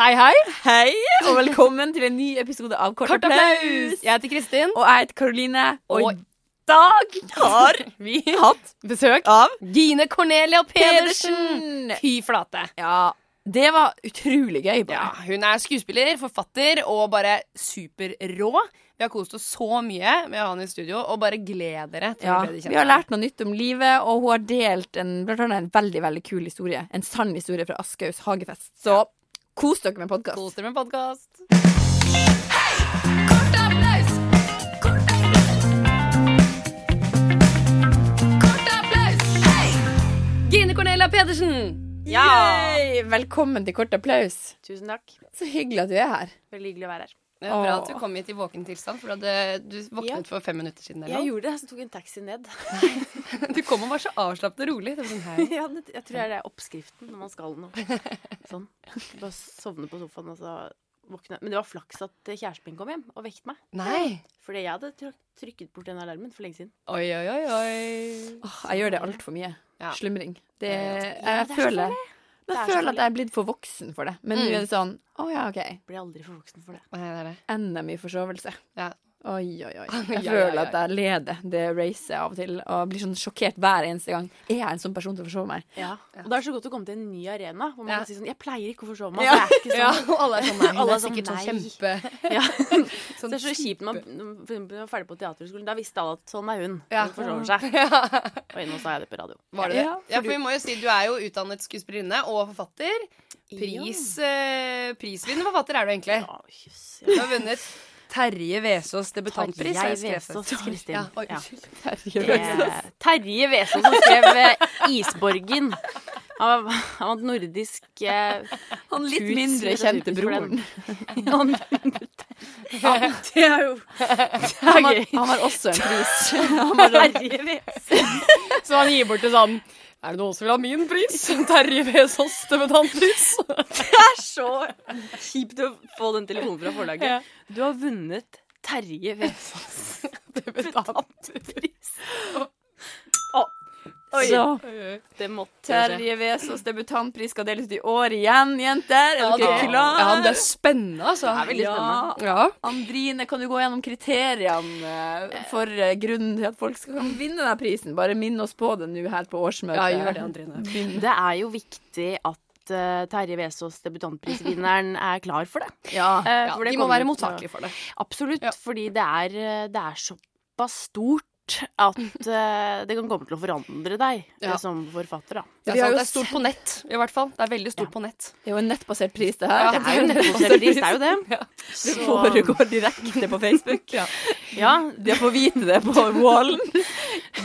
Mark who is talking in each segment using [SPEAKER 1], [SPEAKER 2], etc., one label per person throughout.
[SPEAKER 1] Hei, hei.
[SPEAKER 2] Hei, og velkommen til en ny episode av Kort,
[SPEAKER 1] Kort applaus.
[SPEAKER 2] applaus.
[SPEAKER 1] Jeg heter Kristin.
[SPEAKER 2] Og jeg heter Karoline, og
[SPEAKER 1] Og-
[SPEAKER 2] i dag har
[SPEAKER 1] Vi
[SPEAKER 2] vi hatt
[SPEAKER 1] besøk
[SPEAKER 2] av
[SPEAKER 1] Gine Cornelia Pedersen.
[SPEAKER 2] Pedersen.
[SPEAKER 1] Fy flate.
[SPEAKER 2] Ja, det var utrolig gøy.
[SPEAKER 1] Ja,
[SPEAKER 2] Bare.
[SPEAKER 1] hun er skuespiller, forfatter og bare superrå. Vi har kost oss så mye med å ha henne i studio, og bare gled dere til å bli bedre kjent.
[SPEAKER 2] vi har lært noe nytt om livet, og hun har delt en, blant annet en veldig veldig kul historie. En sann historie fra Aschehougs hagefest. Så kos dere med podkast.
[SPEAKER 1] Kos dere med podkast. Gine Cornelia Pedersen!
[SPEAKER 2] Yay! Velkommen til Kort applaus.
[SPEAKER 3] Tusen takk.
[SPEAKER 2] Så hyggelig at du er her.
[SPEAKER 3] Veldig hyggelig å være her.
[SPEAKER 1] Det er bra at du
[SPEAKER 2] Åh.
[SPEAKER 1] kom hit i våken tilstand, for du, hadde, du våknet for fem minutter siden.
[SPEAKER 3] Jeg
[SPEAKER 1] Eller?
[SPEAKER 3] gjorde det, så tok jeg en taxi ned.
[SPEAKER 1] noe. Du kom og var så avslappet og rolig. Det var sånn, hei.
[SPEAKER 3] Ja, det- jeg tror det er det oppskriften når man skal noe. Sånn. Bare sovne på sofaen og så våkne. Men det var flaks at eh, kjæresten min kom hjem og vekket meg.
[SPEAKER 1] Nei.
[SPEAKER 3] Fordi jeg hadde tryk- trykket bort den alarmen for lenge siden.
[SPEAKER 1] Oi, oi, oi, oi.
[SPEAKER 2] Åh, jeg gjør det altfor mye.
[SPEAKER 1] Ja.
[SPEAKER 2] Slumring. Det,
[SPEAKER 3] Ja,
[SPEAKER 2] jeg
[SPEAKER 3] det er så
[SPEAKER 2] føler men
[SPEAKER 3] Det
[SPEAKER 2] jeg
[SPEAKER 3] er så
[SPEAKER 2] føler at
[SPEAKER 3] farlig.
[SPEAKER 2] jeg er blitt for voksen for det.
[SPEAKER 1] Mm.
[SPEAKER 2] Men nå er det sånn Å ja, OK.
[SPEAKER 3] Ble aldri for voksen for det.
[SPEAKER 1] Nei, det er det.
[SPEAKER 2] NM i forsovelse.
[SPEAKER 1] Ja.
[SPEAKER 2] Oi, oi, oi.
[SPEAKER 1] Oi,
[SPEAKER 2] Jeg
[SPEAKER 1] oi,
[SPEAKER 2] føler
[SPEAKER 1] oi,
[SPEAKER 2] at jeg leder det racet av og til og blir sånn sjokkert hver eneste gang. Er jeg en sånn person til å forsove meg?
[SPEAKER 3] Ja. Og da er det så godt å komme til en ny arena hvor man
[SPEAKER 1] Ja.
[SPEAKER 3] kan si sånn Jeg pleier ikke å forsove meg. Ja. Det er ikke
[SPEAKER 1] Ja,
[SPEAKER 3] sånn.
[SPEAKER 1] og alle er sånn nei. Hun er
[SPEAKER 3] Alle er sånn,
[SPEAKER 1] sikkert sånn
[SPEAKER 3] nei.
[SPEAKER 1] kjempe
[SPEAKER 3] Ja. Så
[SPEAKER 1] sånn
[SPEAKER 3] det er så kjipt når man når man for eksempel var ferdig på teaterskolen. Da visste alle at sånn er hun.
[SPEAKER 1] Ja.
[SPEAKER 3] Hun forsover seg.
[SPEAKER 1] Ja,
[SPEAKER 3] Og nå sa jeg det på radio.
[SPEAKER 1] var det det?
[SPEAKER 2] Ja,
[SPEAKER 1] Ja,
[SPEAKER 2] for
[SPEAKER 1] for vi må jo si du er jo utdannet skuespillerinne og forfatter. Pris, eh, prisvinnende forfatter er du egentlig.
[SPEAKER 3] Ja, jøss.
[SPEAKER 1] Du
[SPEAKER 3] Ja.
[SPEAKER 1] har vunnet Terje Vesaas debutantpris. har
[SPEAKER 3] Tarjei
[SPEAKER 1] jeg skrevet.
[SPEAKER 3] Vesaas, Kristin.
[SPEAKER 1] Ja, oi,
[SPEAKER 3] Ja.
[SPEAKER 1] unnskyld.
[SPEAKER 3] Eh, Terje Vesaas som skrev eh, 'Isborgen'. Han var, han var nordisk eh,
[SPEAKER 2] Han litt
[SPEAKER 3] Tusen
[SPEAKER 2] mindre
[SPEAKER 3] takk
[SPEAKER 2] kjente
[SPEAKER 3] for den.
[SPEAKER 2] broren.
[SPEAKER 3] han, ja, Det er jo Det
[SPEAKER 2] Han
[SPEAKER 3] er
[SPEAKER 2] har,
[SPEAKER 3] gøy.
[SPEAKER 2] han har også en pris.
[SPEAKER 3] Terje Vesaas.
[SPEAKER 1] Så han gir bort til sånn Er det noen som vil ha min pris? Terje Vesaas debutantpris.
[SPEAKER 3] Det er så kjipt å få den telefonen fra forlaget. Du har vunnet Terje Vesaas debutantpris. Å, Oi.
[SPEAKER 2] Så
[SPEAKER 3] Det måtte skje.
[SPEAKER 2] Terje Vesaas debutantpris skal deles ut i år igjen, jenter. Er
[SPEAKER 1] Ja, det,
[SPEAKER 2] dere
[SPEAKER 1] ja,
[SPEAKER 2] klare?
[SPEAKER 1] men det er spennende, altså.
[SPEAKER 3] Det er veldig spennende.
[SPEAKER 1] Ja.
[SPEAKER 2] Andrine, kan du gå gjennom kriteriene eh, for eh, grunnen til at folk skal kan vinne denne prisen? Bare minn oss på det nå her på årsmøtet.
[SPEAKER 1] ja, gjør det, Andrine.
[SPEAKER 3] Det er jo viktig at eh, Terje Vesaas debutantprisvinneren er klar for det.
[SPEAKER 2] Ja.
[SPEAKER 3] Eh,
[SPEAKER 1] Ja,
[SPEAKER 3] for det
[SPEAKER 1] de må
[SPEAKER 3] kommer
[SPEAKER 1] være
[SPEAKER 3] til å-
[SPEAKER 1] mottakelige for det.
[SPEAKER 3] Absolutt,
[SPEAKER 1] Ja.
[SPEAKER 3] fordi det er, eh, det er såpass stort at eh, det kan komme til å forandre deg
[SPEAKER 1] Ja.
[SPEAKER 3] eh, som forfatter. Da.
[SPEAKER 1] Det
[SPEAKER 2] Ja,
[SPEAKER 1] er, sant,
[SPEAKER 2] vi har jo
[SPEAKER 1] det er stort på nett, i hvert fall. Det er veldig stort på nett.
[SPEAKER 2] Det er jo en nettbasert pris, det her.
[SPEAKER 3] Det er jo nettbasert pris, det er jo det.
[SPEAKER 2] Det
[SPEAKER 3] Så-
[SPEAKER 2] foregår direkte på Facebook. ja.
[SPEAKER 3] Ja,
[SPEAKER 2] De får vite det på wallen.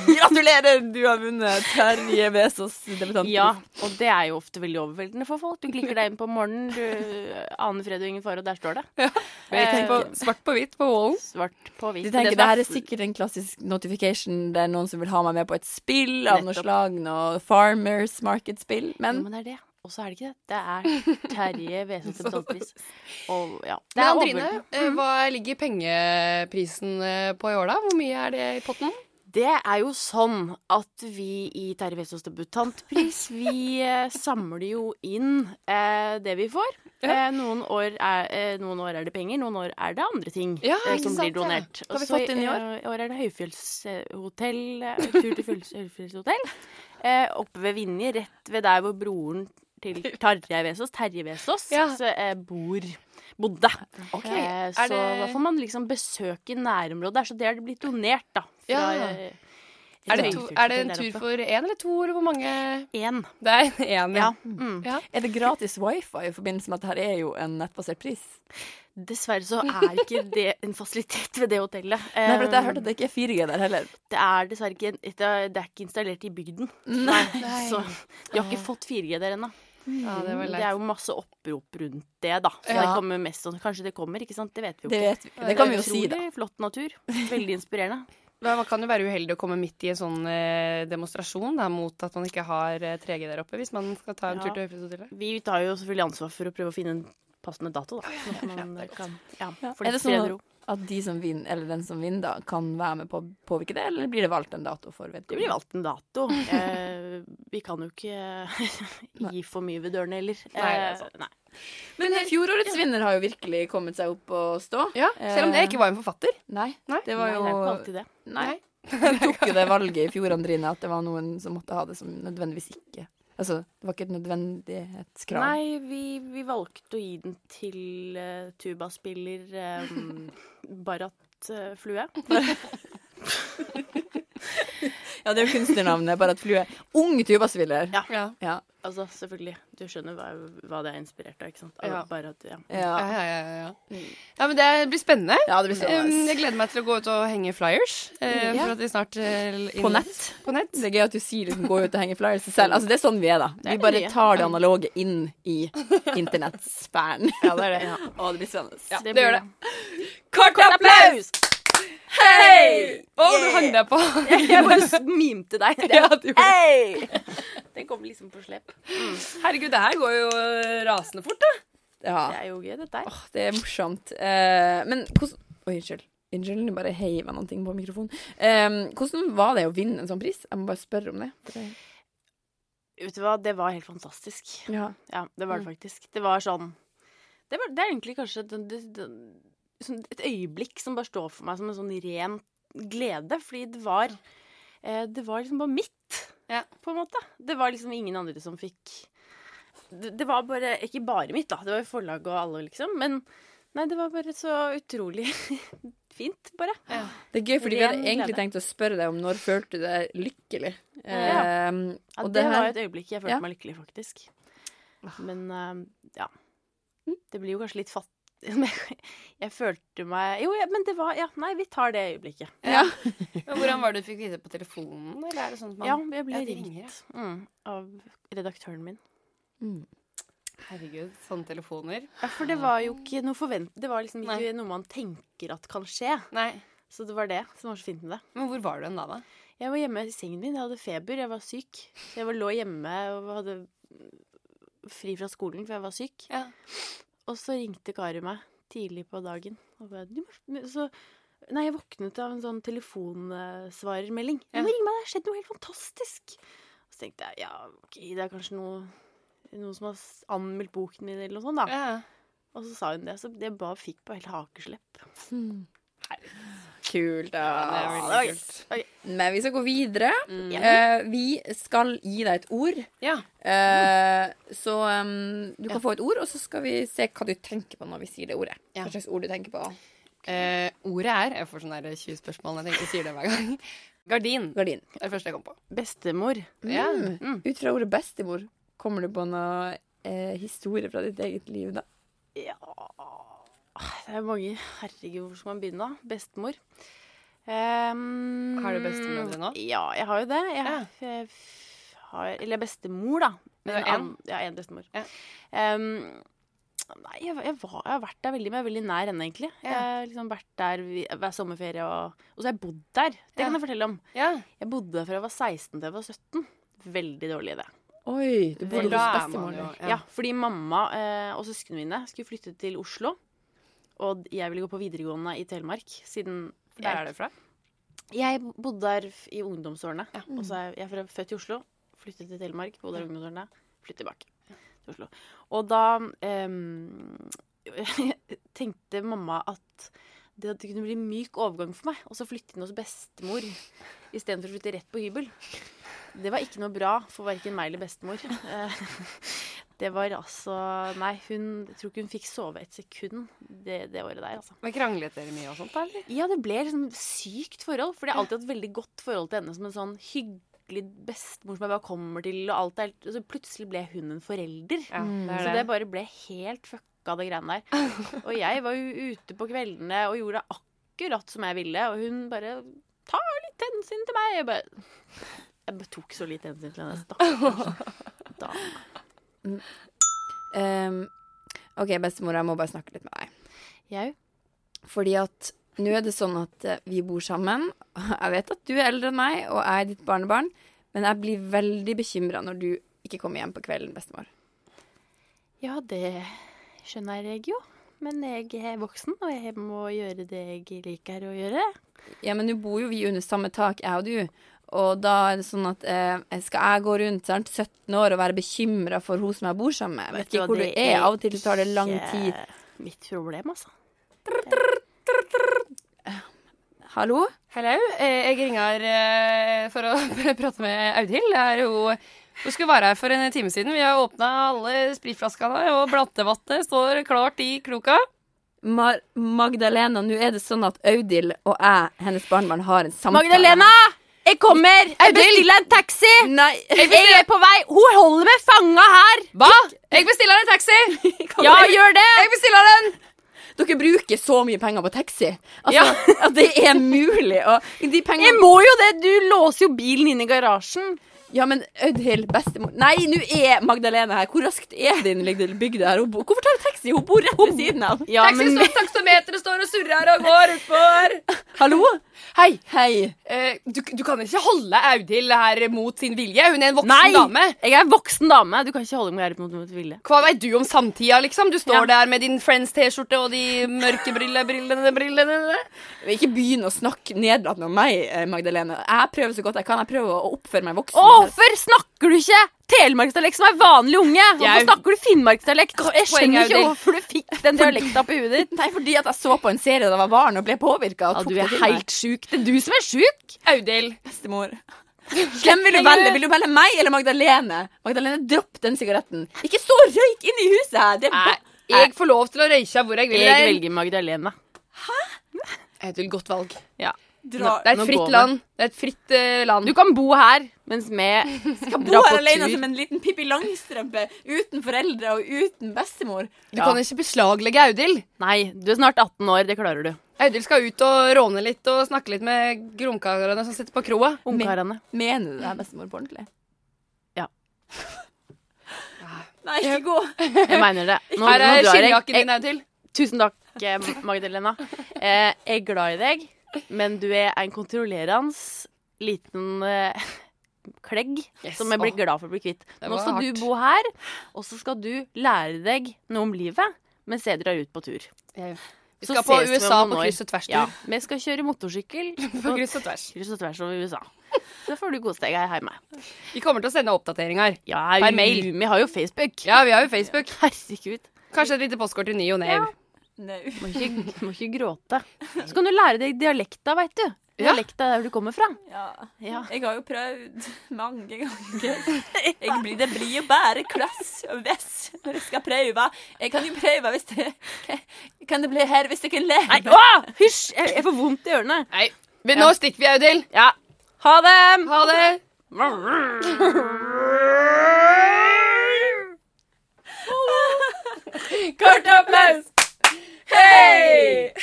[SPEAKER 2] Gratulerer, du har vunnet Terje Vesaas debutantpris.
[SPEAKER 3] ja, og det er jo ofte veldig overveldende for folk. Du klikker deg inn på morgenen, du aner fred og ingen fare, og der står det. Eh,
[SPEAKER 1] Vi tenker på svart på hvitt på wallen.
[SPEAKER 3] Svart på hvitt.
[SPEAKER 2] De
[SPEAKER 3] Og
[SPEAKER 2] tenker
[SPEAKER 3] som
[SPEAKER 2] det her er sikkert en klassisk notification. Det er noen som vil ha meg med på et spill av noe
[SPEAKER 3] Nettopp.
[SPEAKER 2] slag. Noe farmers market-spill.
[SPEAKER 3] Jo,
[SPEAKER 2] Men
[SPEAKER 3] men det er det. Og så er det ikke det. Det er Terje Vesaas debutantpris. Og ja. Det
[SPEAKER 1] Men
[SPEAKER 3] er
[SPEAKER 1] Andrine,
[SPEAKER 3] overveldende.
[SPEAKER 1] eh, hva ligger pengeprisen eh, på i år, da? Hvor mye er det i potten?
[SPEAKER 3] Det er jo sånn at vi i Terje Vesaas debutantpris, vi eh, samler jo inn eh, det vi får. Eh, noen, år er, eh, noen år er det penger, noen år er det andre ting
[SPEAKER 1] Ja,
[SPEAKER 3] eh,
[SPEAKER 1] ikke
[SPEAKER 3] som
[SPEAKER 1] sant,
[SPEAKER 3] blir
[SPEAKER 1] ja.
[SPEAKER 3] donert.
[SPEAKER 1] Hva har vi
[SPEAKER 3] Også
[SPEAKER 1] fått inn i år?
[SPEAKER 3] eh, I år er det høyfjellshotell, eh, tur til fjells- høyfjellshotell. Eh, oppe ved Vinje, rett ved der hvor broren til Tarjei Vesaas, Terje Vesaas,
[SPEAKER 1] Ja.
[SPEAKER 3] så, eh, bor. Bodde.
[SPEAKER 1] Ok,
[SPEAKER 3] Eh,
[SPEAKER 1] er
[SPEAKER 3] så
[SPEAKER 1] det-
[SPEAKER 3] da får man liksom besøke nærområdet der. Så det er det blitt donert, da. Fra,
[SPEAKER 1] Ja.
[SPEAKER 3] eh,
[SPEAKER 1] Er det, to, er det en
[SPEAKER 3] der
[SPEAKER 1] tur
[SPEAKER 3] oppe.
[SPEAKER 1] for én eller to, eller hvor mange?
[SPEAKER 3] Én.
[SPEAKER 1] Det er én, ja.
[SPEAKER 3] Ja. Mm.
[SPEAKER 2] Er det gratis wifi i forbindelse med at dette er jo en nettbasert pris?
[SPEAKER 3] Dessverre så er ikke det en fasilitet ved det hotellet.
[SPEAKER 2] Nei, for at jeg
[SPEAKER 3] Eh,
[SPEAKER 2] hørte at det ikke er 4G der heller.
[SPEAKER 3] det er dessverre ikke, en- det er, det er ikke installert i bygden.
[SPEAKER 2] Nei.
[SPEAKER 3] Så de har ikke fått 4G der ennå. Mm,
[SPEAKER 1] ja det var
[SPEAKER 3] Det
[SPEAKER 1] leit.
[SPEAKER 3] er jo masse opprop rundt det, da. Så
[SPEAKER 1] Ja.
[SPEAKER 3] det kommer mest sånn Kanskje det kommer, ikke sant? Det vet vi jo
[SPEAKER 2] Det
[SPEAKER 3] ikke.
[SPEAKER 2] vet vi. Det kan vi jo si,
[SPEAKER 3] Utrolig
[SPEAKER 2] da.
[SPEAKER 3] flott natur. Veldig inspirerende.
[SPEAKER 1] Men Man kan jo være uheldig å komme midt i en sånn eh, demonstrasjon da, mot at man ikke har eh, 3G der oppe, hvis man skal ta en
[SPEAKER 3] Ja.
[SPEAKER 1] tur til Høyfjellshotellet.
[SPEAKER 3] Vi tar jo selvfølgelig ansvar for å prøve å finne en passende dato, da. Sånn at man kan ja, for
[SPEAKER 2] Er det
[SPEAKER 3] litt
[SPEAKER 2] sånn
[SPEAKER 3] fred og
[SPEAKER 2] at-
[SPEAKER 3] ro.
[SPEAKER 2] At de som vinner, eller den som vinner, da, kan være med på å påvirke det, eller blir det valgt en dato for vedkommende?
[SPEAKER 3] Det blir valgt en dato. Eh, vi kan jo ikke gi for mye ved dørene
[SPEAKER 1] Nei,
[SPEAKER 3] heller.
[SPEAKER 1] det er sant.
[SPEAKER 3] Eh, nei.
[SPEAKER 2] Men eh, fjorårets vinner har jo virkelig kommet seg opp og stå.
[SPEAKER 1] Ja, selv om det ikke var en forfatter.
[SPEAKER 2] Nei,
[SPEAKER 1] Nei.
[SPEAKER 2] det var
[SPEAKER 3] Nei,
[SPEAKER 2] jo
[SPEAKER 3] det er ikke alltid det.
[SPEAKER 2] Nei. Du tok jo det valget i fjor, Andrine, at det var noen som måtte ha det som nødvendigvis ikke Altså, det var ikke et nødvendighetskrav.
[SPEAKER 3] Nei, vi, vi valgte å gi den til eh, tubaspiller eh, Barat eh, Flue.
[SPEAKER 2] Ja, det er jo kunstnernavnet, bare at flue er ung tubaspiller.
[SPEAKER 3] Ja.
[SPEAKER 1] Ja.
[SPEAKER 2] Ja.
[SPEAKER 3] Altså, selvfølgelig. Du skjønner hva, hva det er inspirert av, ikke sant? Av
[SPEAKER 1] Ja.
[SPEAKER 3] Barat, ja.
[SPEAKER 1] Ja,
[SPEAKER 2] Ja.
[SPEAKER 1] ja, ja, ja. ja, men det blir spennende.
[SPEAKER 2] ja, det
[SPEAKER 1] Um,
[SPEAKER 2] blir spennende.
[SPEAKER 1] jeg gleder meg til å gå ut og henge flyers. eh,
[SPEAKER 2] Ja.
[SPEAKER 1] For at de snart eh, inn-
[SPEAKER 2] På nett.
[SPEAKER 1] På nett.
[SPEAKER 2] Det er gøy at du sier liksom, gå ut og henge flyers selv. Altså, det er sånn vi er, da. Vi
[SPEAKER 3] er
[SPEAKER 2] bare
[SPEAKER 3] vi er.
[SPEAKER 2] tar det analoge inn i internettsfæren.
[SPEAKER 1] Ja, det er det.
[SPEAKER 2] Å, det blir spennende.
[SPEAKER 1] Ja, det,
[SPEAKER 3] blir
[SPEAKER 1] gjør det.
[SPEAKER 2] Kort applaus!
[SPEAKER 3] Applaus!
[SPEAKER 2] Hei!
[SPEAKER 1] Å, du hang deg på!
[SPEAKER 3] Jeg bare mimte deg.
[SPEAKER 1] Ja, du
[SPEAKER 2] Eh!
[SPEAKER 1] gjorde det.
[SPEAKER 3] Hei! Den kom liksom på slep.
[SPEAKER 1] Herregud, det her går jo eh, rasende fort, da.
[SPEAKER 2] Ja.
[SPEAKER 3] Det er jo gøy, dette her.
[SPEAKER 2] Åh, det er morsomt. Eh, men hvordan Oi, unnskyld. Unnskyld, nå bare heiv jeg noen ting på mikrofonen. Eh, hvordan var det å vinne en sånn pris? Jeg må bare spørre om det. for det-
[SPEAKER 3] Vet du hva, det var helt fantastisk.
[SPEAKER 2] Ja.
[SPEAKER 3] Ja, det var det faktisk. Det var sånn Det, var, det er egentlig kanskje den- det- den- sånn et øyeblikk som bare står for meg som en sånn ren glede, fordi det var eh, Det var liksom bare mitt,
[SPEAKER 1] Ja.
[SPEAKER 3] på en måte. Det var liksom ingen andre som fikk det, det var bare Ikke bare mitt, da. Det var jo forlaget og alle, liksom. Men nei, det var bare så utrolig fint, bare.
[SPEAKER 2] Det er gøy, fordi vi
[SPEAKER 3] Ren
[SPEAKER 2] hadde egentlig
[SPEAKER 3] glede.
[SPEAKER 2] tenkt å spørre deg om når følte du deg lykkelig.
[SPEAKER 3] Ja.
[SPEAKER 2] Eh,
[SPEAKER 3] Ja,
[SPEAKER 2] og
[SPEAKER 3] det,
[SPEAKER 2] det
[SPEAKER 3] Ah. var
[SPEAKER 2] her
[SPEAKER 3] et øyeblikk jeg følte
[SPEAKER 2] Ja.
[SPEAKER 3] meg lykkelig, faktisk. Men eh, ja. Det blir jo kanskje litt fatt... Men Jeg, jeg følte meg Jo, ja, men det var Ja, nei, vi tar det øyeblikket.
[SPEAKER 2] Ja.
[SPEAKER 1] Men hvordan var det du fikk vite på telefonen? Eller er det sånn at man
[SPEAKER 3] ja, jeg ble
[SPEAKER 1] Ja, de
[SPEAKER 3] ringt
[SPEAKER 1] ringer,
[SPEAKER 3] mm, av redaktøren min.
[SPEAKER 2] Mm.
[SPEAKER 1] Herregud, sånne telefoner.
[SPEAKER 3] Ja, for det var jo ikke noe forvent... Det var liksom ikke
[SPEAKER 1] Nei.
[SPEAKER 3] noe man tenker at kan skje.
[SPEAKER 1] Nei.
[SPEAKER 3] Så det var det som var så fint med det.
[SPEAKER 1] Men hvor var du hen da, da?
[SPEAKER 3] Jeg var hjemme i sengen min. Jeg hadde feber. Jeg var syk. Så jeg var, lå hjemme og hadde fri fra skolen, for jeg var syk.
[SPEAKER 1] Ja.
[SPEAKER 3] Og så ringte Kari meg tidlig på dagen. Og bare, du må, så, nei, jeg våknet av en sånn telefonsvarermelding.
[SPEAKER 1] Ja.
[SPEAKER 3] Du må ringe meg, det har skjedd noe helt fantastisk. Og så tenkte jeg, ja, ok, det er kanskje noe, noen som har s- anmeldt boken min eller noe sånt da.
[SPEAKER 1] ja.
[SPEAKER 3] Og så sa hun det, så det bare fikk på helt hakeslepp.
[SPEAKER 2] Kult,
[SPEAKER 1] Det er
[SPEAKER 2] da.
[SPEAKER 1] veldig kult.
[SPEAKER 2] Men vi skal gå videre.
[SPEAKER 3] Ja.
[SPEAKER 2] Eh, vi skal gi deg et ord.
[SPEAKER 1] Ja.
[SPEAKER 2] Eh, så eh, du kan få et ord, og så skal vi se hva du tenker på når vi sier det ordet.
[SPEAKER 1] Ja.
[SPEAKER 2] Hva slags ord du tenker på.
[SPEAKER 1] Eh, ordet er Jeg får sånne der 20 spørsmål. Jeg tenker jeg sier det hver gang. Gardin.
[SPEAKER 2] Gardin.
[SPEAKER 1] Det er det første jeg kom på.
[SPEAKER 3] Bestemor.
[SPEAKER 1] Ja.
[SPEAKER 2] Mm. Ut fra ordet bestemor, kommer du på noe eh, historie fra ditt eget liv da?
[SPEAKER 3] Ja Det er mange. Herregud, hvor skal man begynne da? Bestemor. Ehm,
[SPEAKER 1] Har du bestemødre nå?
[SPEAKER 3] Ja, jeg har jo det. Jeg,
[SPEAKER 1] Ja.
[SPEAKER 3] jeg f- har, eller bestemor, da.
[SPEAKER 1] Men du har
[SPEAKER 3] an- Ja, én bestemor.
[SPEAKER 1] Ja.
[SPEAKER 3] Ehm, nei, jeg, jeg, var, jeg har vært der veldig, men jeg er veldig nær henne, egentlig.
[SPEAKER 1] Ja.
[SPEAKER 3] Jeg har liksom vært der vi- hver sommerferie, og, og så har jeg bodd der. Det
[SPEAKER 1] Ja.
[SPEAKER 3] kan jeg fortelle om.
[SPEAKER 1] Ja.
[SPEAKER 3] Jeg bodde der fra jeg var 16 til jeg var 17. Veldig dårlig idé.
[SPEAKER 2] Oi, du
[SPEAKER 1] For
[SPEAKER 2] bodde
[SPEAKER 1] da
[SPEAKER 2] hos
[SPEAKER 1] er man
[SPEAKER 2] bestemor.
[SPEAKER 1] jo
[SPEAKER 2] der.
[SPEAKER 3] Ja. fordi mamma eh, og søsknene mine skulle flytte til Oslo. Og jeg ville gå på videregående i Telemark, siden
[SPEAKER 1] For Der er det fra?
[SPEAKER 3] Jeg bodde der f- i ungdomsårene. Og så er jeg, jeg er fra- født i Oslo, flyttet til Telemark, bodde der i ungdomsårene, flyttet tilbake til Oslo. Og da em, tenkte mamma at det at det kunne bli myk overgang for meg, og så flytte inn hos bestemor istedenfor å flytte rett på hybel. Det var ikke noe bra for verken meg eller bestemor. Eh, Det var altså Nei, hun jeg tror ikke hun fikk sove et sekund det, det året der, altså.
[SPEAKER 1] Men kranglet dere mye og sånt, da? eller?
[SPEAKER 3] Ja, det ble liksom sykt forhold. For jeg har alltid hatt veldig godt forhold til henne som en sånn hyggelig bestemor som jeg bare kommer til, og alt er helt Og så plutselig ble hun en forelder.
[SPEAKER 1] Ja, Mm. det
[SPEAKER 3] Så
[SPEAKER 1] er
[SPEAKER 3] det
[SPEAKER 1] det.
[SPEAKER 3] bare ble helt fucka, det greiene der. Og jeg var jo ute på kveldene og gjorde akkurat som jeg ville, og hun bare Ta litt hensyn til meg! Jeg bare, jeg bare tok så litt hensyn til henne. Stakkars. Da.
[SPEAKER 2] Ehm, ok, bestemor, jeg må bare snakke litt med deg.
[SPEAKER 3] Jeg
[SPEAKER 2] Fordi at nå er det sånn at eh, vi bor sammen. Jeg vet at du er eldre enn meg, og jeg er ditt barnebarn, men jeg blir veldig bekymra når du ikke kommer hjem på kvelden, bestemor.
[SPEAKER 3] Ja, det skjønner jeg jo. men jeg er voksen, og jeg må gjøre det jeg liker å gjøre.
[SPEAKER 2] Ja, men nå bor jo vi under samme tak, jeg og du. Og da er det sånn at eh, skal jeg gå rundt sant, 17 år og være bekymra for hun som jeg bor sammen med? Vet
[SPEAKER 3] du
[SPEAKER 2] ikke
[SPEAKER 3] hva,
[SPEAKER 2] hvor det er. Av og til tar det lang
[SPEAKER 3] ikke
[SPEAKER 2] tid.
[SPEAKER 3] Mitt problem, altså.
[SPEAKER 2] Hallo?
[SPEAKER 1] Hello, eh, jeg ringer eh, for å prate med Audhild. Det er jo, hun skulle være her for en time siden. Vi har åpna alle spritflaskene, og blattevatnet står klart i kloka.
[SPEAKER 2] Mar Magdalena, nå er det sånn at Audhild og jeg, hennes barnebarn, har en samtale.
[SPEAKER 3] Magdalena! Jeg kommer! Jeg bestiller en taxi!
[SPEAKER 2] Nei!
[SPEAKER 3] Jeg er på vei! Hun holder meg fanga her!
[SPEAKER 1] Hva? Jeg bestiller en taxi!
[SPEAKER 3] Ja, gjør det!
[SPEAKER 1] Jeg bestiller den!
[SPEAKER 2] Dere bruker så mye penger på taxi. Altså,
[SPEAKER 1] Ja.
[SPEAKER 2] at det er mulig. Og de
[SPEAKER 3] Jeg
[SPEAKER 2] pengene
[SPEAKER 3] må jo det! Du låser jo bilen inne i garasjen.
[SPEAKER 2] Ja, men Audhild, bestemor Nei, nå er Magdalena her. Hvor raskt er din lille bygde her? Hun bo- Hvorfor tar du taxi? Hun bor rett ved siden av.
[SPEAKER 3] Ja,
[SPEAKER 1] taxi står, takstometeret står og surrer og går utfor.
[SPEAKER 2] Hallo?
[SPEAKER 1] Hei,
[SPEAKER 2] Hei.
[SPEAKER 1] eh, du, du kan ikke holde Audhild her mot sin vilje. Hun er en voksen
[SPEAKER 3] Nei!
[SPEAKER 1] dame.
[SPEAKER 3] Jeg er en voksen dame. Du kan ikke holde meg her mot mot vilje.
[SPEAKER 1] Hva veit du om samtida, liksom? Du står
[SPEAKER 3] Ja.
[SPEAKER 1] der med din Friends-T-skjorte og de mørke brillene, brillene, brillene.
[SPEAKER 2] Ikke begynn å snakke nedlatende om meg, eh, Magdalena. Jeg prøver så godt jeg kan. Jeg prøver å oppføre meg voksen.
[SPEAKER 3] Hvorfor snakker du ikke telemarksdialekt som er vanlig unge? Hvorfor
[SPEAKER 1] Jeg-
[SPEAKER 3] snakker du finnmarksdialekt? Jeg
[SPEAKER 1] Poeng,
[SPEAKER 3] skjønner ikke
[SPEAKER 1] Audhild.
[SPEAKER 3] hvorfor du fikk den dialekta på huet ditt.
[SPEAKER 2] Nei, fordi at jeg så på en serie da jeg var barn og ble påvirka.
[SPEAKER 3] Ja, du er helt sjuk. Det er du som er sjuk.
[SPEAKER 1] Audhild.
[SPEAKER 2] bestemor. Hvem vil du
[SPEAKER 3] eh.
[SPEAKER 2] velge? Vil du velge meg eller Magdalene? Magdalene, dropp den sigaretten. Ikke stå og røyk inn i huset her! Det er
[SPEAKER 1] Nei,
[SPEAKER 2] ba-
[SPEAKER 1] Eh, jeg får lov til å røyke hvor jeg vil.
[SPEAKER 3] Jeg velger Magdalena.
[SPEAKER 1] Audhild, godt valg.
[SPEAKER 3] Ja.
[SPEAKER 2] Dra-
[SPEAKER 1] Det er et
[SPEAKER 3] Nå går
[SPEAKER 1] fritt
[SPEAKER 3] vi.
[SPEAKER 1] land. Det er et fritt eh, land.
[SPEAKER 3] Du kan bo her, mens vi skal
[SPEAKER 2] Bo her alene som en liten Pippi Langstrømpe uten foreldre og uten bestemor.
[SPEAKER 1] Du kan ikke beslaglegge Audhild.
[SPEAKER 3] Nei, du er snart 18 år. Det klarer du.
[SPEAKER 1] Audhild skal ut og råne litt og snakke litt med gromkarene som sitter på kroa.
[SPEAKER 3] Ungkarene.
[SPEAKER 2] Mener du det er bestemor på ordentlig?
[SPEAKER 3] Ja.
[SPEAKER 2] Nei, ikke gå.
[SPEAKER 3] Jeg mener det. Nå-
[SPEAKER 1] Her
[SPEAKER 3] nå
[SPEAKER 1] er
[SPEAKER 3] drar jeg. Eh,
[SPEAKER 1] skinnjakken din, Audhild.
[SPEAKER 3] Tusen takk, eh, Magdalena. Eh, jeg er glad i deg, men du er en kontrollerende liten eh, klegg
[SPEAKER 1] Yes,
[SPEAKER 3] som jeg blir
[SPEAKER 1] åh.
[SPEAKER 3] glad for å bli kvitt.
[SPEAKER 1] Det
[SPEAKER 3] Nå
[SPEAKER 1] var
[SPEAKER 3] skal
[SPEAKER 1] hardt.
[SPEAKER 3] du bo her, og så skal du lære deg noe om livet mens jeg drar ut på tur.
[SPEAKER 1] Vi
[SPEAKER 3] Så
[SPEAKER 1] skal på
[SPEAKER 3] ses vi om
[SPEAKER 1] USA
[SPEAKER 3] noen
[SPEAKER 1] på
[SPEAKER 3] år.
[SPEAKER 1] kryss og tvers.
[SPEAKER 3] Ja,
[SPEAKER 1] du.
[SPEAKER 3] Vi skal kjøre motorsykkel
[SPEAKER 1] På kryss og tvers.
[SPEAKER 3] kryss og tvers over USA. Så får du kose deg her hjemme.
[SPEAKER 1] Vi kommer til å sende oppdateringer.
[SPEAKER 3] Ja,
[SPEAKER 1] Per
[SPEAKER 3] vi-
[SPEAKER 1] mail.
[SPEAKER 3] Vi har jo Facebook.
[SPEAKER 1] Ja, vi har jo Facebook.
[SPEAKER 3] Herregud.
[SPEAKER 1] Kanskje et lite postkort til ny og nev.
[SPEAKER 3] Må ikke, må ikke gråte. Så kan du lære deg dialekta, veit du.
[SPEAKER 1] Ja.
[SPEAKER 3] Dialekta der du kommer fra.
[SPEAKER 2] Ja.
[SPEAKER 3] Ja.
[SPEAKER 2] Jeg har jo prøvd mange ganger. Jeg blir, det blir jo bare klass og vess når jeg skal prøve. Jeg kan jo prøve hvis det Kan det bli her hvis dere ler?
[SPEAKER 3] Nei, åh! Hysj! Jeg, jeg får vondt i ørene.
[SPEAKER 1] Nei, men nå stikker vi, Audhild.
[SPEAKER 3] Ja. Ha det!
[SPEAKER 1] Ha det.
[SPEAKER 2] Kort applaus! Hei!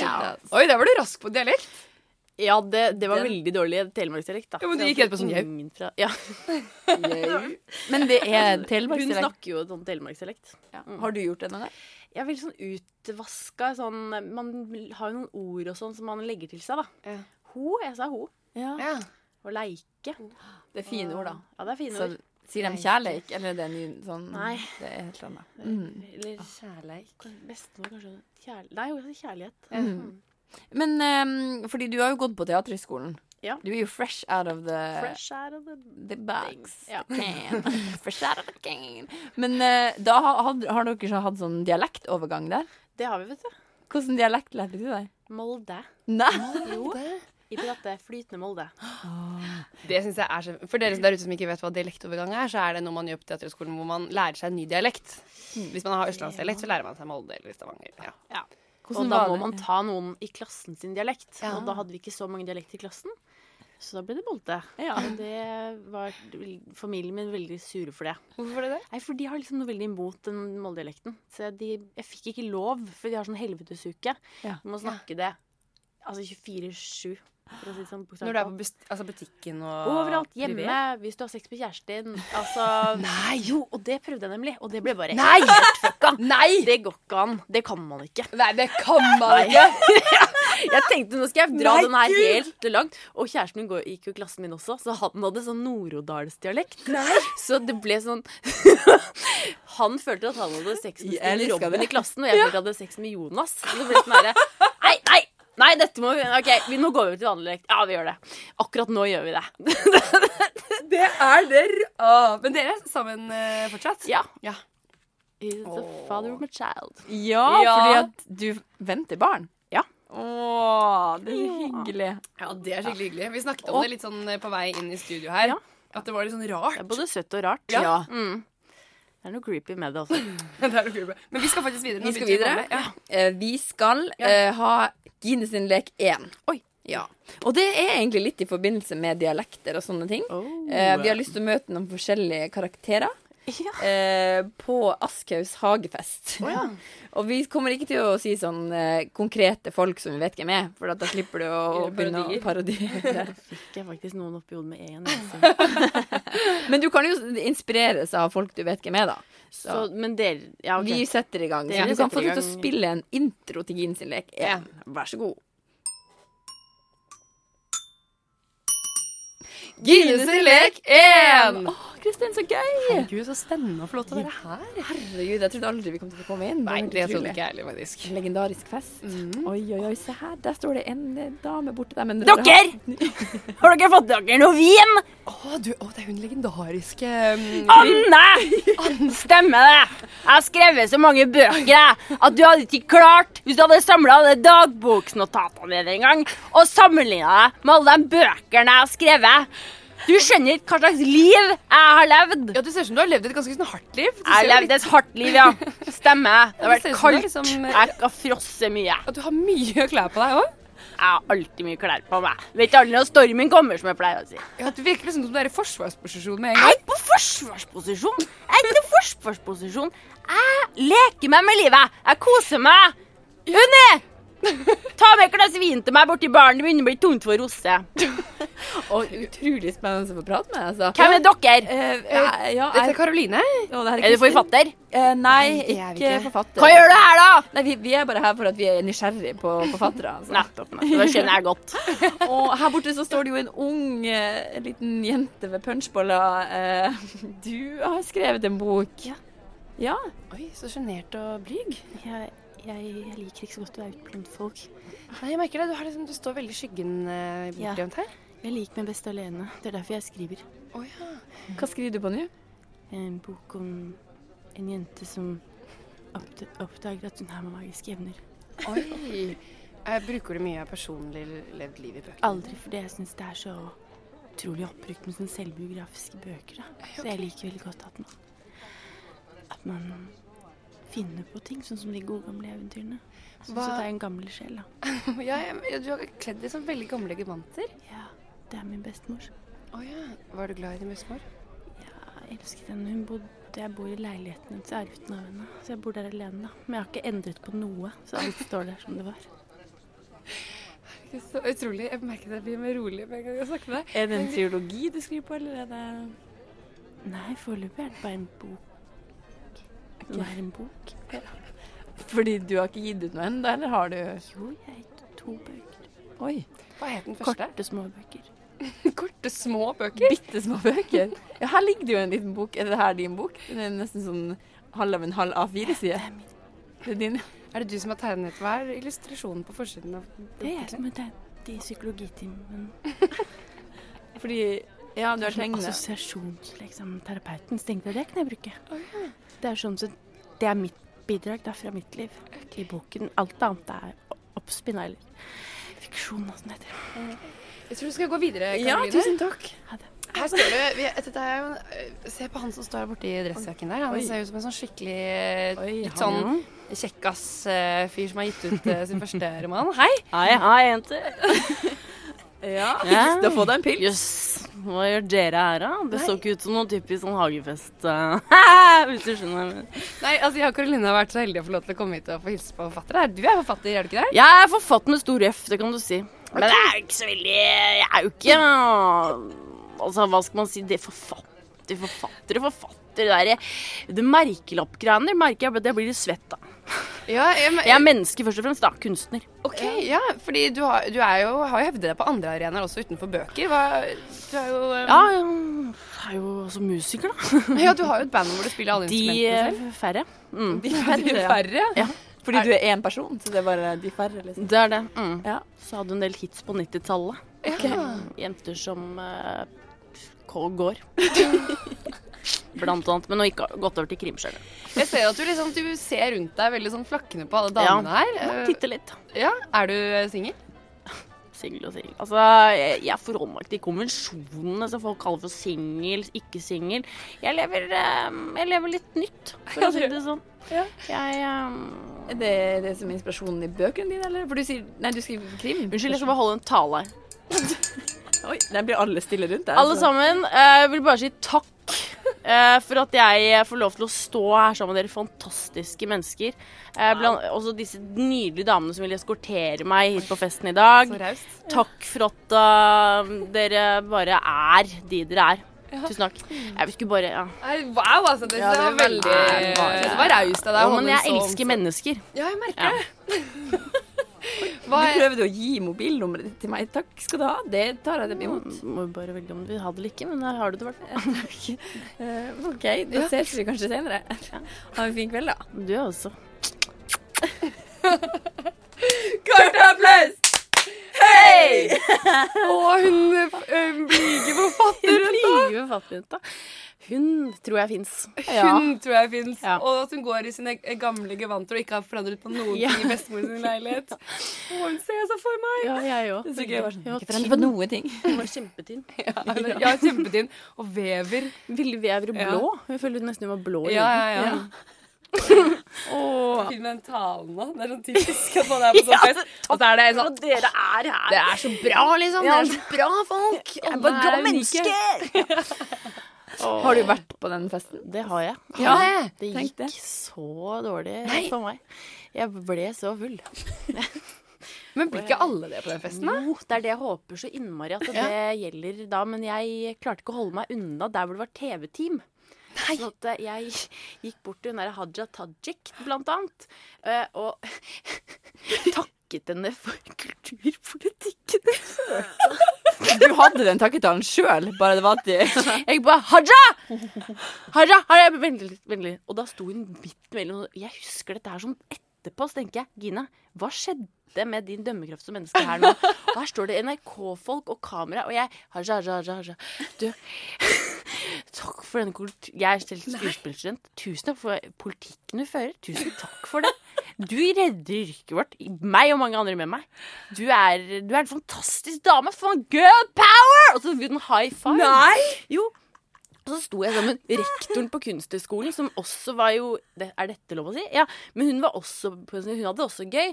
[SPEAKER 3] Ja,
[SPEAKER 1] Oi, der var du rask på dialekt.
[SPEAKER 3] ja det, det var veldig dårlig telemarksdialekt.
[SPEAKER 1] Ja, men du gikk helt på sånn jau.
[SPEAKER 3] jau. Ja.
[SPEAKER 2] Men det er
[SPEAKER 3] Hun
[SPEAKER 2] telemarksdialekt.
[SPEAKER 3] snakker jo sånn telemarksdialekt.
[SPEAKER 2] Har du gjort det noen gang?
[SPEAKER 3] Jeg er veldig sånn utvaska sånn Man har jo noen ord og sånn som man legger til seg, da.
[SPEAKER 1] Ja.
[SPEAKER 3] Ho, jeg sa ho.
[SPEAKER 2] Ja.
[SPEAKER 3] Og leike.
[SPEAKER 2] Det er fine ord, da.
[SPEAKER 3] Ja, det er fine
[SPEAKER 2] Så
[SPEAKER 3] ord.
[SPEAKER 2] sier de kjærleik, eller er det en ny sånn
[SPEAKER 3] Nei.
[SPEAKER 2] Det er et eller annet.
[SPEAKER 3] Eller
[SPEAKER 1] Kjærleik.
[SPEAKER 3] bestemor, kanskje. Kjærl Nei, hun heter kjærlighet.
[SPEAKER 2] Mm. Men ehm, fordi du har jo gått på teaterhøgskolen.
[SPEAKER 3] Ja.
[SPEAKER 2] Du er jo fresh out of the
[SPEAKER 3] Fresh out of the
[SPEAKER 2] The bags.
[SPEAKER 3] Ja.
[SPEAKER 2] Can. Fresh out of the can. Men eh, da ha- had, har dere så hatt sånn dialektovergang der?
[SPEAKER 3] Det har vi, vet du.
[SPEAKER 2] Hvordan dialekt lærte du deg?
[SPEAKER 3] Molde.
[SPEAKER 2] Nei.
[SPEAKER 3] Jo. I prater flytende Molde.
[SPEAKER 1] Det synes jeg er så For dere der ute som ikke vet hva dialektovergang er, så er det noe man gjør på Teaterhøgskolen hvor man lærer seg en ny dialekt. Hvis man har østlandsdialekt, så lærer man seg Molde eller Stavanger. Ja.
[SPEAKER 2] Hvordan
[SPEAKER 3] og da
[SPEAKER 2] var
[SPEAKER 3] må
[SPEAKER 2] det?
[SPEAKER 3] man ta noen i klassen sin dialekt.
[SPEAKER 1] Ja.
[SPEAKER 3] Og da hadde vi ikke så mange dialekter i klassen, så da ble det bolte.
[SPEAKER 2] Ja.
[SPEAKER 3] Og det var familien min veldig sure for det.
[SPEAKER 1] Hvorfor var det det?
[SPEAKER 3] Nei, For de har liksom noe veldig imot den moldedialekten. Så de, jeg fikk ikke lov, for de har sånn helvetesuke.
[SPEAKER 2] Ja.
[SPEAKER 3] Du må snakke det altså 24-7, for å si det sånn.
[SPEAKER 1] Når du er
[SPEAKER 3] bokstavelig
[SPEAKER 1] på
[SPEAKER 3] talt.
[SPEAKER 1] best- altså butikken og
[SPEAKER 3] Overalt. Hjemme,
[SPEAKER 1] Privé?
[SPEAKER 3] hvis du har sex med kjæresten. Altså Nei! Jo, og det prøvde jeg nemlig, og det ble bare
[SPEAKER 1] Nei!
[SPEAKER 3] fucka.
[SPEAKER 1] Nei!
[SPEAKER 3] Det går ikke an. Det kan man ikke.
[SPEAKER 1] Nei, det kan man ikke!
[SPEAKER 3] Jeg tenkte nå skal jeg dra
[SPEAKER 2] Nei,
[SPEAKER 3] den her
[SPEAKER 2] Gud!
[SPEAKER 3] helt langt. Og kjæresten min går- gikk jo i klassen min også, så han hadde sånn Nord-Odalsdialekt.
[SPEAKER 2] Nei!
[SPEAKER 3] Så det ble sånn Han følte at han hadde sex med
[SPEAKER 2] Jeg
[SPEAKER 3] Stine
[SPEAKER 2] elsker
[SPEAKER 3] Robin
[SPEAKER 2] det.
[SPEAKER 3] i klassen, og jeg følte at jeg hadde sex med Jonas. Så det ble sånn herre Nei, nei! Nei, dette må vi OK, vi, nå går vi til vanlig lekt. Ja, vi gjør det. Akkurat nå gjør vi det.
[SPEAKER 2] Det er det r-
[SPEAKER 1] Åh, men dere er sammen eh, fortsatt?
[SPEAKER 3] Ja.
[SPEAKER 1] Ja.
[SPEAKER 3] He's the father of my child.
[SPEAKER 2] ja,
[SPEAKER 1] Ja.
[SPEAKER 2] fordi at du venter barn.
[SPEAKER 3] Ja.
[SPEAKER 4] Åh, det er så
[SPEAKER 1] Mm.
[SPEAKER 4] hyggelig.
[SPEAKER 1] Ja, det er skikkelig hyggelig. Vi snakket om det litt sånn eh, på vei inn i studio her.
[SPEAKER 3] Ja.
[SPEAKER 1] At det var litt sånn
[SPEAKER 3] Det er
[SPEAKER 1] rart.
[SPEAKER 3] både søtt og rart.
[SPEAKER 2] Ja.
[SPEAKER 3] Mm. Det er noe creepy med det altså. også.
[SPEAKER 1] Det er noe kult. Men vi skal faktisk videre. Nå
[SPEAKER 2] Vi skal
[SPEAKER 1] begynte å
[SPEAKER 2] videre.
[SPEAKER 1] komme. Ja.
[SPEAKER 2] Eh, Vi skal eh, ha Gine sin lek 1.
[SPEAKER 3] Oi.
[SPEAKER 2] Ja. Og det er egentlig litt i forbindelse med dialekter og sånne ting.
[SPEAKER 3] Oh.
[SPEAKER 2] Eh, vi har lyst til å møte noen forskjellige karakterer
[SPEAKER 3] Ja.
[SPEAKER 2] eh, på Aschehougs hagefest. og vi kommer ikke til å si sånn eh, konkrete folk som vi vet hvem er, for at da slipper du å
[SPEAKER 1] Eller
[SPEAKER 2] begynne å parodiere.
[SPEAKER 3] Fikk jeg faktisk noen opp i hodet med en altså.
[SPEAKER 2] Men du kan jo inspireres av folk du vet hvem er, da.
[SPEAKER 3] Så, men dere Ja, OK.
[SPEAKER 2] Vi setter i gang.
[SPEAKER 3] Det
[SPEAKER 2] Så
[SPEAKER 3] er
[SPEAKER 2] du
[SPEAKER 3] vi
[SPEAKER 2] kan
[SPEAKER 3] setter
[SPEAKER 2] få
[SPEAKER 3] i
[SPEAKER 2] deg til å
[SPEAKER 3] gang.
[SPEAKER 2] spille en intro til Gine sin lek. Ja. Vær så god. Gine sin lek 1! Å, Kristin, så gøy!
[SPEAKER 1] Herregud, så spennende å få lov til å være her.
[SPEAKER 2] Herregud, jeg trodde aldri vi kom til å komme inn.
[SPEAKER 1] Nei,
[SPEAKER 2] var helt
[SPEAKER 1] det trodde
[SPEAKER 2] utrolig.
[SPEAKER 1] ikke jeg heller, faktisk.
[SPEAKER 2] En legendarisk fest. Oi, oi, oi, se her. Der står det en eh, dame borte der. Men
[SPEAKER 3] Dere! Har dere fått dere noe vin?
[SPEAKER 1] Å, du, å, det er hun legendariske um,
[SPEAKER 3] Anne! Stemmer det. Jeg har skrevet så mange bøker jeg, at du hadde ikke klart, hvis du hadde samla alle dagboksnotatene dine en gang, og sammenligna deg med alle de bøkene jeg har skrevet. Du skjønner ikke hva slags liv jeg har levd.
[SPEAKER 1] Ja, Du ser ut som du har levd et ganske sånn hardt liv. Du
[SPEAKER 3] Jeg har
[SPEAKER 1] ser jo litt-
[SPEAKER 3] levd et hardt liv, ja. Stemmer. Det har
[SPEAKER 1] Det ser ut som det
[SPEAKER 3] vært
[SPEAKER 1] er
[SPEAKER 3] kaldt.
[SPEAKER 1] liksom-
[SPEAKER 3] Jeg har frosset mye.
[SPEAKER 1] At du har mye klær på deg òg.
[SPEAKER 3] Jeg har alltid mye klær på meg. Vet aldri når stormen kommer, som jeg pleier å si.
[SPEAKER 1] Ja, du virker liksom som du er i forsvarsposisjon med en
[SPEAKER 3] Jeg
[SPEAKER 1] gang.
[SPEAKER 3] er ikke på forsvarsposisjon. Jeg er ikke på forsvarsposisjon. Jeg leker meg med livet. Jeg koser meg. Unni! Ta med et glass vin til meg borti baren. Det begynner å bli tomt for Rosse.
[SPEAKER 2] Og utrolig spennende å få prate med. Altså.
[SPEAKER 3] Hvem er dere?
[SPEAKER 2] Ja, ja,
[SPEAKER 1] Dette
[SPEAKER 2] jeg,
[SPEAKER 1] er Karoline.
[SPEAKER 2] å, det her
[SPEAKER 3] Er du
[SPEAKER 2] Kristin.
[SPEAKER 3] forfatter?
[SPEAKER 2] Eh, nei,
[SPEAKER 1] det er vi
[SPEAKER 2] ikke
[SPEAKER 1] ikke.
[SPEAKER 2] forfatter.
[SPEAKER 3] Hva gjør du her, da?
[SPEAKER 2] Nei, vi, vi er bare her for at vi er nysgjerrig på forfattere. Altså.
[SPEAKER 3] Nettopp. Det skjønner jeg godt.
[SPEAKER 2] Og her borte så står det jo en ung eh, liten jente ved punchbolla. Eh, du har skrevet en bok. Ja.
[SPEAKER 1] Oi, så sjenert og blyg.
[SPEAKER 3] Jeg, liker ikke så godt å være ute blant folk.
[SPEAKER 1] Nei, jeg merker det. Du, har liksom, du står veldig i skyggen eh,
[SPEAKER 3] Ja.
[SPEAKER 1] bortgjemt her.
[SPEAKER 3] Jeg liker meg best alene. Det er derfor jeg skriver
[SPEAKER 1] Å ja.
[SPEAKER 2] Hva skriver du på nå?
[SPEAKER 3] en bok om en jente som oppdager at hun har magiske evner.
[SPEAKER 1] Oi. Jeg bruker du mye av personlig levd liv i bøkene?
[SPEAKER 3] Aldri fordi jeg syns det er så utrolig oppbrukt med sånne selvbiografiske bøker. Da. Så jeg liker veldig godt at man, at man finner på ting, sånn som de gode gamle eventyrene. Sånn
[SPEAKER 1] Hva-
[SPEAKER 3] som det er en gammel sjel, da.
[SPEAKER 1] Ja, jeg- du har kledd deg som veldig gamle gevanter.
[SPEAKER 3] Ja, det er min bestemor.
[SPEAKER 1] Å ja. Var du glad i din bestemor?
[SPEAKER 3] Ja, jeg elsket henne. Hun bodde jeg bor i leiligheten hennes, jeg er uten av henne. Så jeg bor der alene, da. Men jeg har ikke endret på noe, så alt står der som det var.
[SPEAKER 1] Så utrolig. Jeg merket jeg blir mer rolig med en gang jeg snakker med deg.
[SPEAKER 2] Er det en triologi du skriver på, eller er det
[SPEAKER 3] Nei, foreløpig er det bare en bok. Det er en bok.
[SPEAKER 2] Fordi du har ikke gitt ut noe ennå, eller har du
[SPEAKER 3] Jo, jeg har gitt ut to bøker.
[SPEAKER 2] Oi.
[SPEAKER 1] Hva het den første?
[SPEAKER 3] Korte småbøker.
[SPEAKER 1] Korte, små bøker.
[SPEAKER 2] Bitte små bøker. Ja, her ligger det jo en liten bok. Er det her din bok? Den er nesten sånn halv av en halv A4-side.
[SPEAKER 3] Det er min
[SPEAKER 2] Det er din.
[SPEAKER 1] Er det du som har tegnet hver illustrasjon på forsiden av
[SPEAKER 3] Det er jeg som har tegnet i psykologitimen.
[SPEAKER 2] Fordi Ja, du har
[SPEAKER 1] Altså,
[SPEAKER 2] tegnet.
[SPEAKER 3] Assosiasjonsterapeuten tenkte jeg det kan jeg bruke. Det er sånn sett Det er mitt bidrag da fra mitt liv i boken. Alt annet er oppspinna eller fiksjon og sånn heter.
[SPEAKER 1] Jeg tror du skal gå videre,
[SPEAKER 2] Ja,
[SPEAKER 1] Karoline.
[SPEAKER 2] tusen takk.
[SPEAKER 1] Her står det vi, dette er jo, en- Se på han som står borti dressjakken der. Han
[SPEAKER 2] Oi.
[SPEAKER 1] ser ut som en sånn skikkelig
[SPEAKER 2] Oi,
[SPEAKER 1] litt
[SPEAKER 2] han,
[SPEAKER 1] sånn kjekkas-fyr som har gitt ut eh, sin første roman. Hei!
[SPEAKER 3] Hei, hei, jenter.
[SPEAKER 2] Ja.
[SPEAKER 3] Ja.
[SPEAKER 2] Da få deg en pils.
[SPEAKER 3] Jøss. Hva gjør dere her, da? Det så ikke ut som noe typisk sånn hagefest. eh, Hvis du skjønner.
[SPEAKER 1] Nei, altså, Jeg og Karoline har vært så heldige å få lov til å komme hit og få hilse på forfattere. Du er forfatter, er du ikke det?
[SPEAKER 3] Jeg er forfatter med stor F, det kan du si. Men jeg er jo ikke så veldig Jeg er jo ikke Altså, hva skal man si? Det er forfatter, forfatter, forfatter. Det derre det merkelappgreiene det merker jeg at jeg blir litt svett av.
[SPEAKER 1] Ja, jeg,
[SPEAKER 3] Jeg er menneske først og fremst, da. Kunstner.
[SPEAKER 1] ok, ja, fordi du har, du er jo, har jo hevdet deg på andre arenaer også utenfor bøker. Hva, du er jo, eh,
[SPEAKER 3] Ja, jeg er jo også musiker, da.
[SPEAKER 1] ja, du har jo et band hvor du spiller alle
[SPEAKER 3] De
[SPEAKER 1] instrumentene selv.
[SPEAKER 3] eh, færre. Mm.
[SPEAKER 2] De
[SPEAKER 4] De
[SPEAKER 2] færre.
[SPEAKER 1] Færre, ja.
[SPEAKER 4] Fordi du er én person, så det er bare de færre, liksom.
[SPEAKER 3] Det er det. Mm.
[SPEAKER 4] Ja.
[SPEAKER 3] Så hadde du en del hits på 90-tallet. Jenter som eh, k- går. Blant annet. Men nå ikke gått over til krimsjøl.
[SPEAKER 1] Jeg ser at du, liksom, du ser rundt deg veldig sånn flakkende på alle damene her. Eh,
[SPEAKER 3] Titte litt.
[SPEAKER 1] Ja, er du eh, singel?
[SPEAKER 3] Singel og singel. Altså, jeg, jeg forholder meg ikke til konvensjonene som folk kaller for singel, ikke singel. Jeg, lever, eh, jeg lever litt nytt, for å si det sånn.
[SPEAKER 2] Ja.
[SPEAKER 3] Jeg eh,
[SPEAKER 2] Er det det som er inspirasjonen i bøkene dine, eller? For du sier Nei, du skriver krim.
[SPEAKER 3] Unnskyld, jeg skal bare liksom holde en tale her.
[SPEAKER 4] Oi, der blir alle stille rundt
[SPEAKER 2] altså.
[SPEAKER 4] deg.
[SPEAKER 3] Alle sammen, jeg vil bare si takk eh, for at jeg får lov til å stå her sammen med dere fantastiske mennesker. Eh, blant, også disse nydelige damene som vil eskortere meg hit på festen i dag.
[SPEAKER 1] raust.
[SPEAKER 3] Takk for at eh, dere bare er de dere er. Tusen takk. Jeg skulle bare ja.
[SPEAKER 1] Wow, altså. Det,
[SPEAKER 2] Ja, det
[SPEAKER 1] var
[SPEAKER 2] er veldig-
[SPEAKER 1] veldig Det var raust av deg. å
[SPEAKER 3] Jo,
[SPEAKER 1] holde
[SPEAKER 3] men
[SPEAKER 1] en
[SPEAKER 3] jeg
[SPEAKER 1] så
[SPEAKER 3] elsker mennesker.
[SPEAKER 1] Ja, jeg merker
[SPEAKER 3] Ja.
[SPEAKER 1] det. Hva
[SPEAKER 2] Du
[SPEAKER 1] er,
[SPEAKER 2] prøvde å gi mobilnummeret ditt til meg. Takk skal du ha. Det tar jeg dem imot.
[SPEAKER 3] Må jo bare velge om du vil ha det eller ikke, men jeg har det i hvert fall.
[SPEAKER 2] Eh, OK, da ses vi kanskje senere. Ha en fin kveld, da.
[SPEAKER 3] Du også.
[SPEAKER 2] Kort applaus!
[SPEAKER 1] å, hun eh, blige forfatter!
[SPEAKER 3] Live fattigjenta. Hun tror jeg fins.
[SPEAKER 1] Hun tror jeg fins.
[SPEAKER 3] Ja.
[SPEAKER 1] Og at hun går i sine gamle gevanter og ikke har forandret på noen
[SPEAKER 3] Ja.
[SPEAKER 1] ting i bestemor sin leilighet. Å, hun ser jeg så for meg!
[SPEAKER 3] Ja, jeg òg.
[SPEAKER 4] Så gøy, bare sånn,
[SPEAKER 3] Hun var
[SPEAKER 4] ikke forandre på
[SPEAKER 3] tynn.
[SPEAKER 4] noen ting.
[SPEAKER 3] Hun var kjempetynn.
[SPEAKER 1] Ja, ja kjempetynn. Og vever.
[SPEAKER 3] Ville Vever
[SPEAKER 1] Ja.
[SPEAKER 3] blå? Hun følte nesten hun var blå. i
[SPEAKER 1] Ja,
[SPEAKER 3] huden.
[SPEAKER 1] ja, ja.
[SPEAKER 2] Åh.
[SPEAKER 1] Filmen Tana. Det er sånn typisk at man er på sånn fest, og så er det sånn
[SPEAKER 3] Dere er her!
[SPEAKER 1] Det er så bra, liksom.
[SPEAKER 3] Ja.
[SPEAKER 1] Det er så bra folk. Jeg
[SPEAKER 3] bare glad menneske.
[SPEAKER 2] Har du vært på den festen?
[SPEAKER 3] Det har jeg.
[SPEAKER 1] Ja.
[SPEAKER 3] Det
[SPEAKER 2] Tenk
[SPEAKER 3] gikk
[SPEAKER 2] det.
[SPEAKER 3] så dårlig
[SPEAKER 1] Nei.
[SPEAKER 3] for meg. Jeg ble så full.
[SPEAKER 1] Men blir ikke alle det på den festen, da?
[SPEAKER 3] Jo, det er det jeg håper så innmari at det gjelder da. Men jeg klarte ikke å holde meg unna der hvor det var TV-team. Nei. Sånn at eh, jeg gikk bort til hun der Haja Tajik, blant annet, eh, og takket henne for kulturpolitikken.
[SPEAKER 4] Du hadde den takketalen sjøl, bare det var at de
[SPEAKER 3] Jeg bare Haja! Haja! Haja! Vent litt, vent litt. Og da sto hun midt mellom Jeg husker dette her som etterpå, så tenker jeg Gina, hva skjedde med din dømmekraft som menneske her nå? Og her står det NRK-folk og kamera, og jeg Haja, haja, haja, haja. Du Takk for denne kultur... Jeg er selv skuespillerstudent. Tusen takk for politikken du fører. Tusen takk for det. Du redder yrket vårt. Meg og mange andre med meg. Du er, du er en fantastisk dame. Faen, girl power! Og så fikk hun en high five. Jo. Og så sto jeg sammen med rektoren på Kunsthøgskolen, som også var jo det, Er dette lov å si? Ja. Men hun var også Hun hadde det også gøy.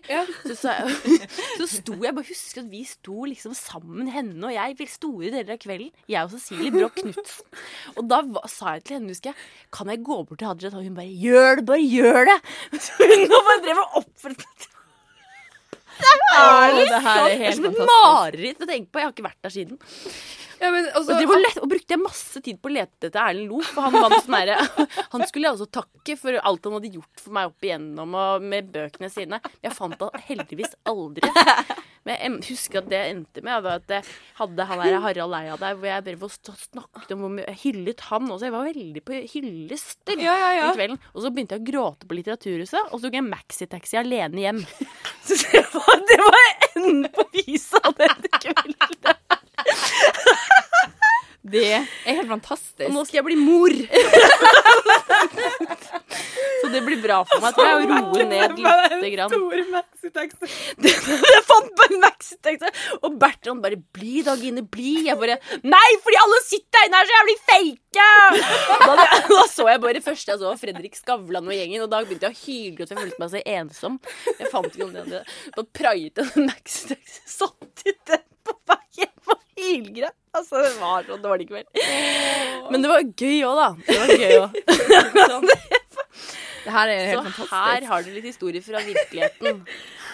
[SPEAKER 3] Så, sa jeg, så sto jeg bare husker at vi sto liksom sammen, henne og jeg, i store deler av kvelden. Jeg og Cecilie Broch Knutsen. Og da va- sa jeg til henne, husker jeg, kan jeg gå bort til Hadia? Og hun bare gjør det, bare gjør det! Så hun bare drev og opprettet
[SPEAKER 2] Åh, det her er
[SPEAKER 3] Det er
[SPEAKER 2] helt
[SPEAKER 3] som et
[SPEAKER 2] fantastisk.
[SPEAKER 3] mareritt å tenke på. Jeg har ikke vært der siden.
[SPEAKER 1] Ja, men også,
[SPEAKER 3] Og, det var lett, og brukte jeg masse tid på å lete etter Erlend Lo. For han, vant sånn derre- han skulle jeg også takke for alt han hadde gjort for meg opp igjennom og med bøkene sine. Jeg fant han heldigvis aldri. Men jeg em- husker at det jeg endte med, var at jeg hadde han der Harald Eia der, hvor jeg drev og st- snakket om hvor mye jeg hyllet han også. Jeg var veldig på hyllester
[SPEAKER 1] Ja, ja, ja.
[SPEAKER 3] den kvelden. Og så begynte jeg å gråte på Litteraturhuset, og så tok jeg maxitaxi alene hjem. Så det var, det var enden på visa denne kvelden.
[SPEAKER 2] Det er helt fantastisk.
[SPEAKER 3] Og nå skal jeg bli mor! så det blir bra for meg. Tror jeg å roe ned lite grann. Jeg fant bare en maxi, tenkte jeg. Og Bertrand bare 'Bli da, Gine, bli'. Jeg bare 'Nei, fordi alle sitter inne her, så jeg blir fake'. Da, da så jeg bare først jeg så Fredrik Skavlan og gjengen, og da begynte jeg å hylgråte. for Jeg følte meg så ensom. Jeg fant ikke noen andre. Da praiet jeg en maxi, satt i den på vei hjem og hylgråt. Altså, det var så dårlig kveld. Men det var gøy òg, da. Det var gøy også.
[SPEAKER 2] Det her er
[SPEAKER 3] Så
[SPEAKER 2] helt fantastisk.
[SPEAKER 3] her har du litt historie fra virkeligheten.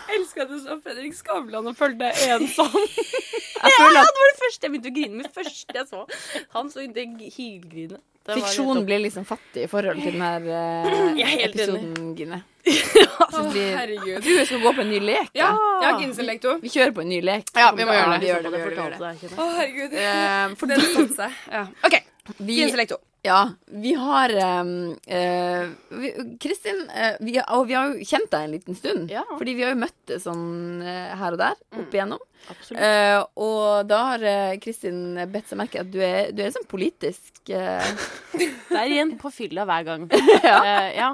[SPEAKER 1] Jeg elsker at du så Fredrik Skavlan og følte deg ensom.
[SPEAKER 3] Jeg føler at... Ja, det var det første jeg begynte å grine med. første jeg så han, så det hylgrinet. Det var litt
[SPEAKER 2] Fiksjon
[SPEAKER 3] opp-
[SPEAKER 2] blir liksom fattig i forhold til den her eh,
[SPEAKER 3] Jeg er helt
[SPEAKER 2] episoden, Gine.
[SPEAKER 1] Å, herregud.
[SPEAKER 2] Du jeg skal gå på en ny lek.
[SPEAKER 1] Ja,
[SPEAKER 2] da.
[SPEAKER 1] jeg har ginselek to.
[SPEAKER 2] Vi kjører på en ny lek.
[SPEAKER 1] Ja, vi må gjøre det.
[SPEAKER 2] Vi gjør det, vi
[SPEAKER 3] Jeg
[SPEAKER 2] gjør det, vi gjør
[SPEAKER 3] fortalte
[SPEAKER 2] det.
[SPEAKER 3] deg ikke det.
[SPEAKER 1] Å, herregud.
[SPEAKER 2] Eh,
[SPEAKER 1] For den satte seg. Ja. OK.
[SPEAKER 2] vi,
[SPEAKER 1] Ginselek to.
[SPEAKER 2] ja, vi har um, eh, vi- Kristin, eh, vi, har- og vi har jo kjent deg en liten stund.
[SPEAKER 3] Ja. Mm.
[SPEAKER 2] Fordi vi har jo møtt deg sånn eh, her og der opp igjennom.
[SPEAKER 3] Absolutt.
[SPEAKER 2] Eh, og da har eh, Kristin bedt seg merke at du er, du er sånn politisk eh,
[SPEAKER 3] Det er igjen på fylla hver gang.
[SPEAKER 2] ja.
[SPEAKER 3] Eh, ja.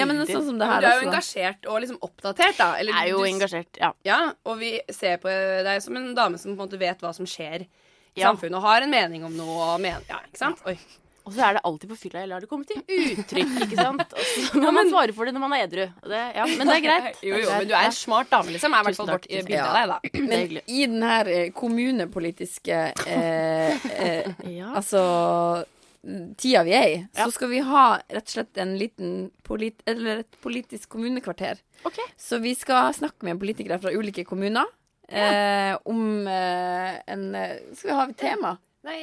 [SPEAKER 2] ja, men sånn som det
[SPEAKER 1] Du
[SPEAKER 2] her
[SPEAKER 1] er jo
[SPEAKER 2] også.
[SPEAKER 1] engasjert og liksom oppdatert, da. Eller
[SPEAKER 3] Jeg er jo
[SPEAKER 1] du-
[SPEAKER 3] engasjert, ja.
[SPEAKER 1] Ja, og vi ser på deg som en dame som på en måte vet hva som skjer i
[SPEAKER 3] Ja.
[SPEAKER 1] samfunnet, og har en mening om noe. Og men ja, ikke sant? Oi.
[SPEAKER 3] Og så er det alltid på fylla jeg lar det komme til uttrykk, ikke sant. Og så må man svare for det når man er edru. Og det, ja, men det er greit.
[SPEAKER 1] Jo, jo, men du er en smart dame, liksom. Er i hvert fall
[SPEAKER 3] Tusen
[SPEAKER 1] vårt
[SPEAKER 3] takk,
[SPEAKER 1] eh,
[SPEAKER 3] tusen
[SPEAKER 1] bilde av deg, da.
[SPEAKER 3] Det er
[SPEAKER 2] Men
[SPEAKER 3] hyggelig.
[SPEAKER 2] i den her eh, kommunepolitiske eh, eh,
[SPEAKER 3] Ja.
[SPEAKER 2] Altså tida vi er i,
[SPEAKER 3] Ja.
[SPEAKER 2] så skal vi ha rett og slett en liten polit, eller et politisk kommunekvarter.
[SPEAKER 3] Ok.
[SPEAKER 2] Så vi skal snakke med politikere fra ulike kommuner eh, om eh, en eh, Skal vi ha et tema?
[SPEAKER 1] Nei,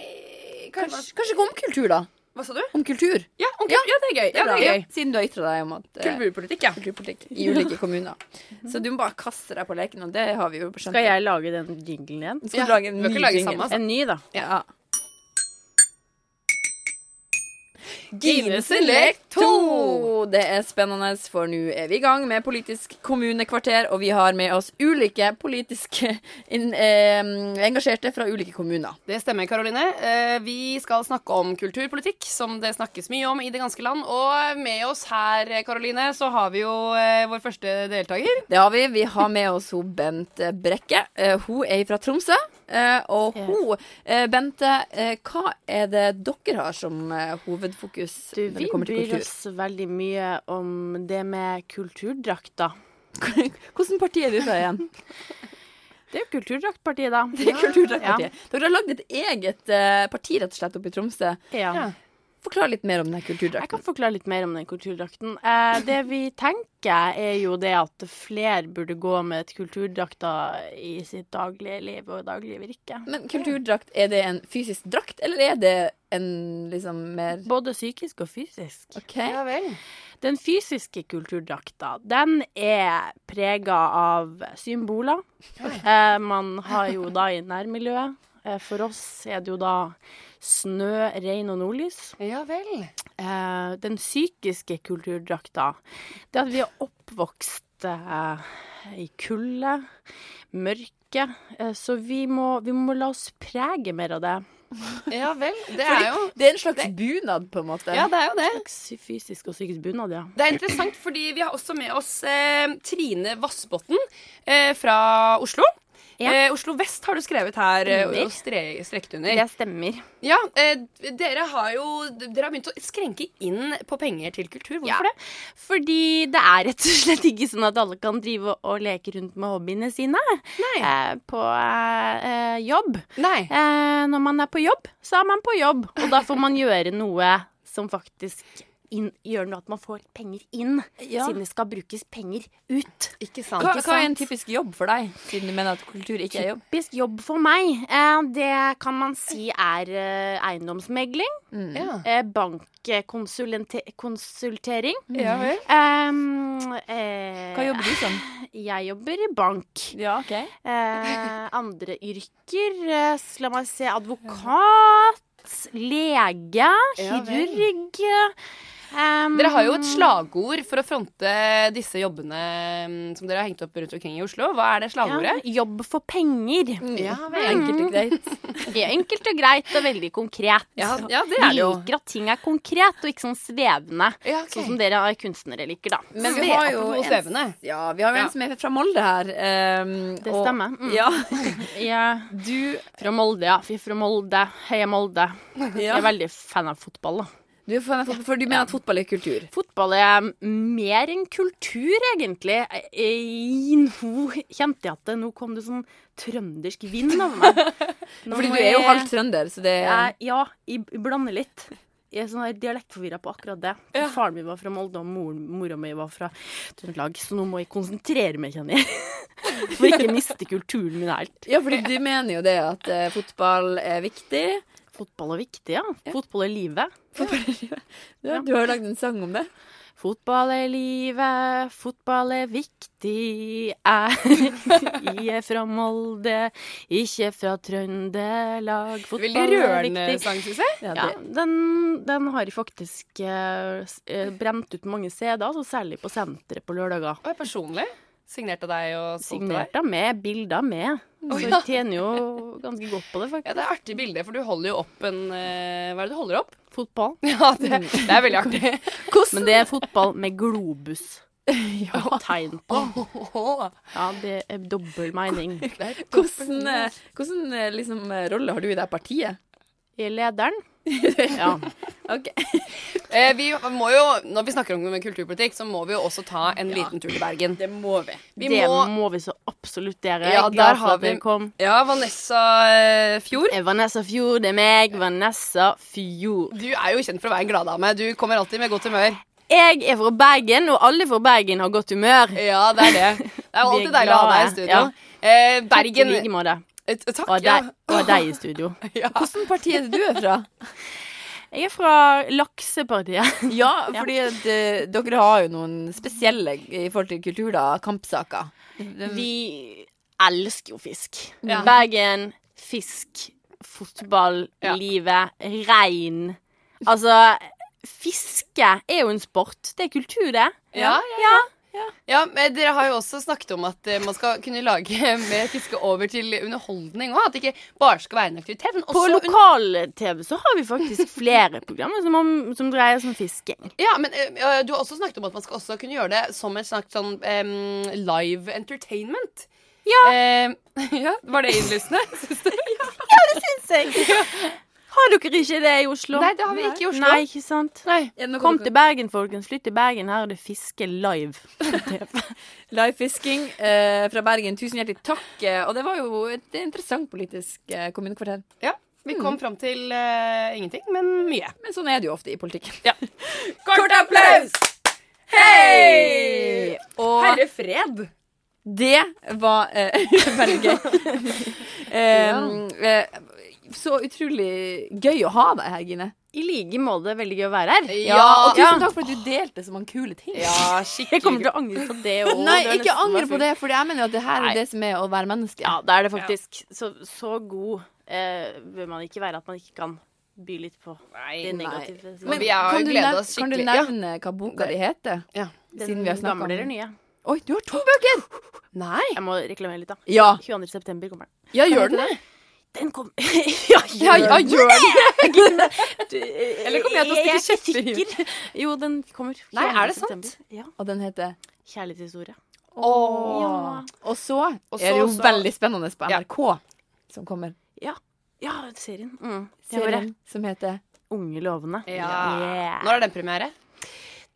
[SPEAKER 2] Kanskje,
[SPEAKER 1] kanskje
[SPEAKER 2] kanskje om kultur, da?
[SPEAKER 1] Hva sa du?
[SPEAKER 2] Om kultur.
[SPEAKER 1] Ja, om kul- ja, det er gøy.
[SPEAKER 2] Det
[SPEAKER 1] Ja,
[SPEAKER 2] er
[SPEAKER 1] det
[SPEAKER 2] bra.
[SPEAKER 1] er gøy.
[SPEAKER 2] Siden du har ytra deg om at eh,
[SPEAKER 1] Kulturpolitikk, ja.
[SPEAKER 2] kulturpolitikk i ulike kommuner. Så du må bare kaste deg på leken, og det har vi jo skjønt.
[SPEAKER 3] Skal jeg lage den jinglen igjen?
[SPEAKER 2] Skal du
[SPEAKER 1] Ja,
[SPEAKER 2] lage en
[SPEAKER 1] vi må ikke
[SPEAKER 2] ny
[SPEAKER 1] lage
[SPEAKER 2] jingle?
[SPEAKER 1] samme, altså.
[SPEAKER 3] En ny, da.
[SPEAKER 2] Ja.
[SPEAKER 1] Gines lek to!
[SPEAKER 2] Det er spennende, for nå er vi i gang med politisk kommunekvarter, og vi har med oss ulike politiske inn- eh, engasjerte fra ulike kommuner.
[SPEAKER 1] Det stemmer, Karoline. Eh, Vi skal snakke om kulturpolitikk, som det snakkes mye om i det ganske land. Og med oss her, Karoline, så har vi jo eh, vår første deltaker.
[SPEAKER 2] Det har vi. Vi har med oss hun Bent Brekke. Eh, hun er fra Tromsø. Eh, og hun, eh, Bente, eh, hva er det dere har som eh, hovedfokus
[SPEAKER 3] Du,
[SPEAKER 2] når
[SPEAKER 3] vi
[SPEAKER 2] det kommer til
[SPEAKER 3] bryr
[SPEAKER 2] kultur?
[SPEAKER 3] oss veldig mye om det med kulturdrakta.
[SPEAKER 2] Hvilket parti er du fra igjen?
[SPEAKER 3] Det er jo kulturdraktpartiet, da.
[SPEAKER 2] Det er Kulturdraktpartiet. Dere har lagd et eget eh, parti rett og slett oppe i Tromsø.
[SPEAKER 3] Ja.
[SPEAKER 1] Ja.
[SPEAKER 2] Forklar litt mer om den kulturdrakten.
[SPEAKER 3] Jeg kan forklare litt mer om den kulturdrakten. Eh, det vi tenker, er jo det at flere burde gå med et kulturdrakta i sitt daglige liv og daglige virke.
[SPEAKER 2] Men kulturdrakt, er det en fysisk drakt, eller er det en liksom mer
[SPEAKER 3] Både psykisk og fysisk.
[SPEAKER 2] OK?
[SPEAKER 1] Ja vel.
[SPEAKER 3] Den fysiske kulturdrakta, den er prega av symboler. Eh, man har jo da i nærmiljøet. Eh, for oss er det jo da snø, regn og nordlys.
[SPEAKER 1] Ja vel.
[SPEAKER 3] eh, den psykiske kulturdrakta. Det at vi er oppvokst eh, i kulde, mørke. Eh, så vi må, vi må la oss prege mer av det.
[SPEAKER 1] Ja vel. Det er jo
[SPEAKER 2] Det er en slags bunad, på en måte.
[SPEAKER 1] Ja, det er jo det.
[SPEAKER 3] Psy- Fysisk og psykisk bunad, ja.
[SPEAKER 1] Det er interessant, fordi vi har også med oss eh, Trine Vassbotten eh, fra Oslo.
[SPEAKER 3] Ja.
[SPEAKER 1] Eh, Oslo Vest har du skrevet her eh, og stre strekt under.
[SPEAKER 3] Det stemmer.
[SPEAKER 1] Ja, eh, dere har jo Dere har begynt å skrenke inn på penger til kultur. Hvorfor
[SPEAKER 3] Hvorfor det? Fordi det er rett og slett ikke sånn at alle kan drive og leke rundt med hobbyene sine eh, på eh, eh, jobb.
[SPEAKER 1] det? Nei.
[SPEAKER 3] Eh, når man er på jobb, så er man på jobb, og da får man gjøre noe som faktisk inn, gjør noe at man får penger inn,
[SPEAKER 2] Ja.
[SPEAKER 3] siden det skal brukes penger ut.
[SPEAKER 1] Ikke sant.
[SPEAKER 2] Hva,
[SPEAKER 1] Ikke
[SPEAKER 2] hva er en
[SPEAKER 1] sant?
[SPEAKER 2] typisk jobb for deg, siden du mener at kultur ikke er jobb?
[SPEAKER 3] Typisk jobb for meg, eh, det kan man si er eh, eiendomsmegling,
[SPEAKER 1] Ja.
[SPEAKER 3] eh, bankkonsultering.
[SPEAKER 1] ja vel.
[SPEAKER 2] Hva jobber du som?
[SPEAKER 3] Ehm, eh, Jeg jobber i bank.
[SPEAKER 2] Ja, OK.
[SPEAKER 3] Eh, andre yrker, eh, s- la meg se, advokat, lege,
[SPEAKER 1] vel.
[SPEAKER 3] kirurg. eh, em,
[SPEAKER 1] Dere har jo et slagord for å fronte disse jobbene mm, som dere har hengt opp rundt omkring i Oslo. Hva er det slagordet?
[SPEAKER 3] Ja, jobb for penger.
[SPEAKER 1] Ja, vel.
[SPEAKER 2] Mm. Enkelt og greit.
[SPEAKER 3] Det er enkelt og greit og veldig konkret.
[SPEAKER 1] Ja, ja, det er det jo.
[SPEAKER 3] Vi liker at ting er konkret og ikke sånn svevende.
[SPEAKER 1] Ja, ok.
[SPEAKER 3] Sånn som dere er kunstnere liker, da.
[SPEAKER 2] Men
[SPEAKER 1] Sve-
[SPEAKER 2] vi har jo
[SPEAKER 1] apropos
[SPEAKER 2] en,
[SPEAKER 1] svevende.
[SPEAKER 2] ja, vi har jo
[SPEAKER 1] Ja.
[SPEAKER 2] en som er fra Molde her. ehm,
[SPEAKER 3] Det
[SPEAKER 2] og-
[SPEAKER 3] stemmer. Mm.
[SPEAKER 2] Ja.
[SPEAKER 3] Jeg,
[SPEAKER 2] Du,
[SPEAKER 3] fra Molde, ja. Vi er fra Molde. Heia Molde. Jeg
[SPEAKER 2] ja.
[SPEAKER 3] er veldig fan av fotball, da.
[SPEAKER 2] du er fan av fotball, for du mener at fotball er kultur?
[SPEAKER 3] Fotball er mer enn kultur, egentlig. I, nå kjente jeg at det, nå kom det sånn trøndersk vind over meg. Nå
[SPEAKER 2] Fordi
[SPEAKER 3] må
[SPEAKER 2] du er jo
[SPEAKER 3] jeg-
[SPEAKER 2] halvt trønder, så det
[SPEAKER 3] Jeg, ja, jeg jeg blander litt. Jeg er sånn her dialektforvirra på akkurat det. For Faren min var fra Molde, og moren, mora mi var fra Trøndelag, så nå må jeg konsentrere meg, kjenner jeg. For ikke miste kulturen min helt.
[SPEAKER 2] Ja, fordi du mener jo det at eh, fotball er viktig.
[SPEAKER 3] Fotball er viktig, ja. Fotball er livet.
[SPEAKER 2] Ja, du har jo lagd en sang om det.
[SPEAKER 3] Fotball er livet, fotball er viktig. Jeg er fra Molde, ikke fra Trøndelag.
[SPEAKER 1] Veldig
[SPEAKER 3] Fotball er
[SPEAKER 1] rørende
[SPEAKER 3] viktig.
[SPEAKER 1] sang, syns jeg.
[SPEAKER 2] Ja,
[SPEAKER 3] Ja,
[SPEAKER 2] det.
[SPEAKER 3] den, den har jeg faktisk eh, s- eh, brent ut mange CD-er, altså særlig på senteret på lørdager.
[SPEAKER 1] Og jeg personlig signerte deg og solgte deg.
[SPEAKER 3] Signert av meg, bilder av meg.
[SPEAKER 1] Å,
[SPEAKER 3] Så
[SPEAKER 1] ja.
[SPEAKER 3] jeg tjener jo ganske godt på det,
[SPEAKER 1] Ja,
[SPEAKER 3] faktisk.
[SPEAKER 1] det er artig bilde, for du holder jo opp en eh, Hva er det du holder opp?
[SPEAKER 3] Fotball.
[SPEAKER 1] Ja, det, det er veldig artig.
[SPEAKER 3] Men det er fotball med globus. Og tegn på. Ja, det er dobbel mening.
[SPEAKER 2] Hvordan, eh, hvordan eh, liksom, eh, rolle har du i det her partiet?
[SPEAKER 3] I lederen. Ja.
[SPEAKER 2] Ok.
[SPEAKER 1] Eh, vi må jo, når vi snakker om kulturpolitikk, så må vi jo også ta en liten tur til Bergen.
[SPEAKER 2] Det må vi.
[SPEAKER 1] Vi
[SPEAKER 3] det må...
[SPEAKER 1] må
[SPEAKER 3] vi så absolutt gjøre.
[SPEAKER 1] Ja,
[SPEAKER 3] Jeg er glad
[SPEAKER 1] der
[SPEAKER 3] for
[SPEAKER 1] har
[SPEAKER 3] at dere
[SPEAKER 1] vi-
[SPEAKER 3] kom.
[SPEAKER 1] Ja, Vanessa eh, Fjord.
[SPEAKER 3] Eh, Vanessa Fjord, det er meg. Vanessa Fjord.
[SPEAKER 1] Du er jo kjent for å være en gladdame. Du kommer alltid med godt humør.
[SPEAKER 3] Jeg er fra Bergen, og alle fra Bergen har godt humør.
[SPEAKER 1] Ja, det er det. Det er jo
[SPEAKER 3] Vi er
[SPEAKER 1] alltid deilig å ha deg i
[SPEAKER 3] glade.
[SPEAKER 1] studio.
[SPEAKER 3] Ja.
[SPEAKER 1] Eh,
[SPEAKER 3] I
[SPEAKER 1] Bergen
[SPEAKER 3] like måte.
[SPEAKER 1] eh, Takk,
[SPEAKER 3] Og
[SPEAKER 1] ja.
[SPEAKER 3] deg, og deg i studio.
[SPEAKER 1] ja.
[SPEAKER 2] Hvilket parti er det du er fra?
[SPEAKER 3] Jeg er fra Laksepartiet.
[SPEAKER 2] Ja, fordi at, eh, dere har jo noen spesielle i forhold til kultur, da, kampsaker.
[SPEAKER 3] Mm. Vi elsker jo fisk.
[SPEAKER 1] Ja.
[SPEAKER 3] Bergen, fisk, fotball,
[SPEAKER 1] Ja.
[SPEAKER 3] livet, regn. Altså, fiske er jo en sport. Det er kultur, det.
[SPEAKER 1] Ja, ja, ja. Ja, men Dere har jo også snakket om at eh, man skal kunne lage mer fiske over til underholdning òg. At det ikke bare skal være en aktivitet, men
[SPEAKER 3] På
[SPEAKER 1] også un
[SPEAKER 3] lokal-TV så har vi faktisk flere programmer som, om, som dreier seg om fisking.
[SPEAKER 1] ja, men eh, Du har også snakket om at man skal også kunne gjøre det som en slags sånn em, live entertainment. Ja. ja. Var det innlysende? Syns du?
[SPEAKER 3] Har dere ikke det i Oslo?
[SPEAKER 1] Nei, det har vi ikke i Oslo.
[SPEAKER 3] Nei, ikke sant?
[SPEAKER 1] Nei.
[SPEAKER 3] Kom til Bergen, folkens. Flytt til Bergen. Her er det fiske live.
[SPEAKER 2] Livefisking eh, fra Bergen, tusen hjertelig takk. eh, Og det var jo et interessant politisk eh, kommunekvarter.
[SPEAKER 1] Ja, Mm. Vi kom fram til eh, ingenting, men mye.
[SPEAKER 2] Men sånn er det jo ofte i politikken.
[SPEAKER 1] Ja.
[SPEAKER 2] Kort applaus! Hei! Og
[SPEAKER 1] Herre fred!
[SPEAKER 2] det var eh, veldig gøy. Em, eh, så utrolig gøy å ha deg her, Gine.
[SPEAKER 3] I like måte. Veldig gøy å være her.
[SPEAKER 1] Ja,
[SPEAKER 2] Ja, og
[SPEAKER 1] ja.
[SPEAKER 2] tusen takk for at du delte så mange kule ting.
[SPEAKER 1] skikkelig.
[SPEAKER 3] Jeg kommer til å angre på det òg.
[SPEAKER 2] Nei, ikke angre på det, for jeg mener jo at det her
[SPEAKER 3] Nei.
[SPEAKER 2] er det som er å være menneske.
[SPEAKER 3] Ja, det er det faktisk. Så, så god eh, bør man ikke være at man ikke kan by litt på det
[SPEAKER 1] Nei.
[SPEAKER 3] negative.
[SPEAKER 1] Men vi har
[SPEAKER 2] kan,
[SPEAKER 1] jo
[SPEAKER 2] du
[SPEAKER 1] gledet
[SPEAKER 2] nev-
[SPEAKER 1] oss
[SPEAKER 2] kan du
[SPEAKER 1] skikkelig. Ja.
[SPEAKER 2] nevne hva boka di heter?
[SPEAKER 1] Ja.
[SPEAKER 2] Siden vi har snakket om
[SPEAKER 3] Gamle eller
[SPEAKER 2] den.
[SPEAKER 3] nye?
[SPEAKER 2] Oi, du har to bøker!
[SPEAKER 1] Nei.
[SPEAKER 3] Jeg må reklamere litt, da.
[SPEAKER 2] Ja,
[SPEAKER 3] 22. september kommer den.
[SPEAKER 2] ja gjør den det?
[SPEAKER 3] Den kom Ja,
[SPEAKER 2] Ja, ja, gjør den det?
[SPEAKER 3] Eller
[SPEAKER 2] kommer jeg til å stikke
[SPEAKER 3] kjefter i hjulet? Jo, den kommer.
[SPEAKER 1] Nei, er det
[SPEAKER 3] 22.
[SPEAKER 1] sant?
[SPEAKER 3] september. Ja.
[SPEAKER 2] Og den heter
[SPEAKER 3] Kjærlighetshistorie.
[SPEAKER 2] Åh. Og så
[SPEAKER 1] Og så-
[SPEAKER 2] er det jo
[SPEAKER 1] så-
[SPEAKER 2] veldig spennende på
[SPEAKER 1] Ja.
[SPEAKER 2] NRK som kommer.
[SPEAKER 3] Ja, serien. Mm. Det var det.
[SPEAKER 2] Serien som heter
[SPEAKER 3] Unge lovende.
[SPEAKER 1] Ja.
[SPEAKER 3] Yeah.
[SPEAKER 1] Når er den premiere?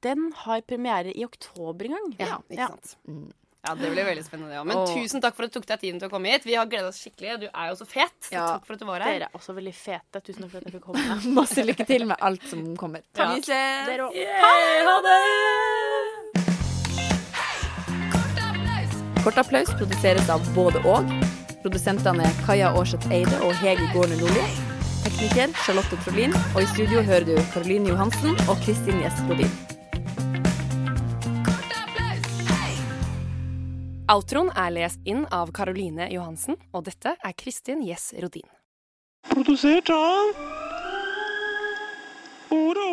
[SPEAKER 3] Den har premiere i oktober en gang.
[SPEAKER 1] Ja, ikke
[SPEAKER 3] Ja.
[SPEAKER 1] sant. Ja, det blir veldig spennende. Ja. Men
[SPEAKER 2] Åh.
[SPEAKER 1] tusen takk for at du tok deg tiden til å komme hit. Vi har gleda oss skikkelig. og Du er jo så fet. Så
[SPEAKER 2] Ja.
[SPEAKER 1] takk for at du var her.
[SPEAKER 3] Dere er også veldig fete. Tusen takk for at jeg fikk komme.
[SPEAKER 2] Masse lykke til med alt som kommer.
[SPEAKER 1] Ja.
[SPEAKER 2] Vi ses!
[SPEAKER 3] Dere også.
[SPEAKER 2] Kort applaus produseres av både og. Produsentene er Kaja Aarseth Eide og Hege Gården Nordli. Tekniker Charlotte Trolin. Og i studio hører du Karoline Johansen og Kristin Gjestbrodin.
[SPEAKER 1] Outroen er lest inn av Caroline Johansen, og dette er Kristin Gjess Rodin.
[SPEAKER 5] produzir John. Puro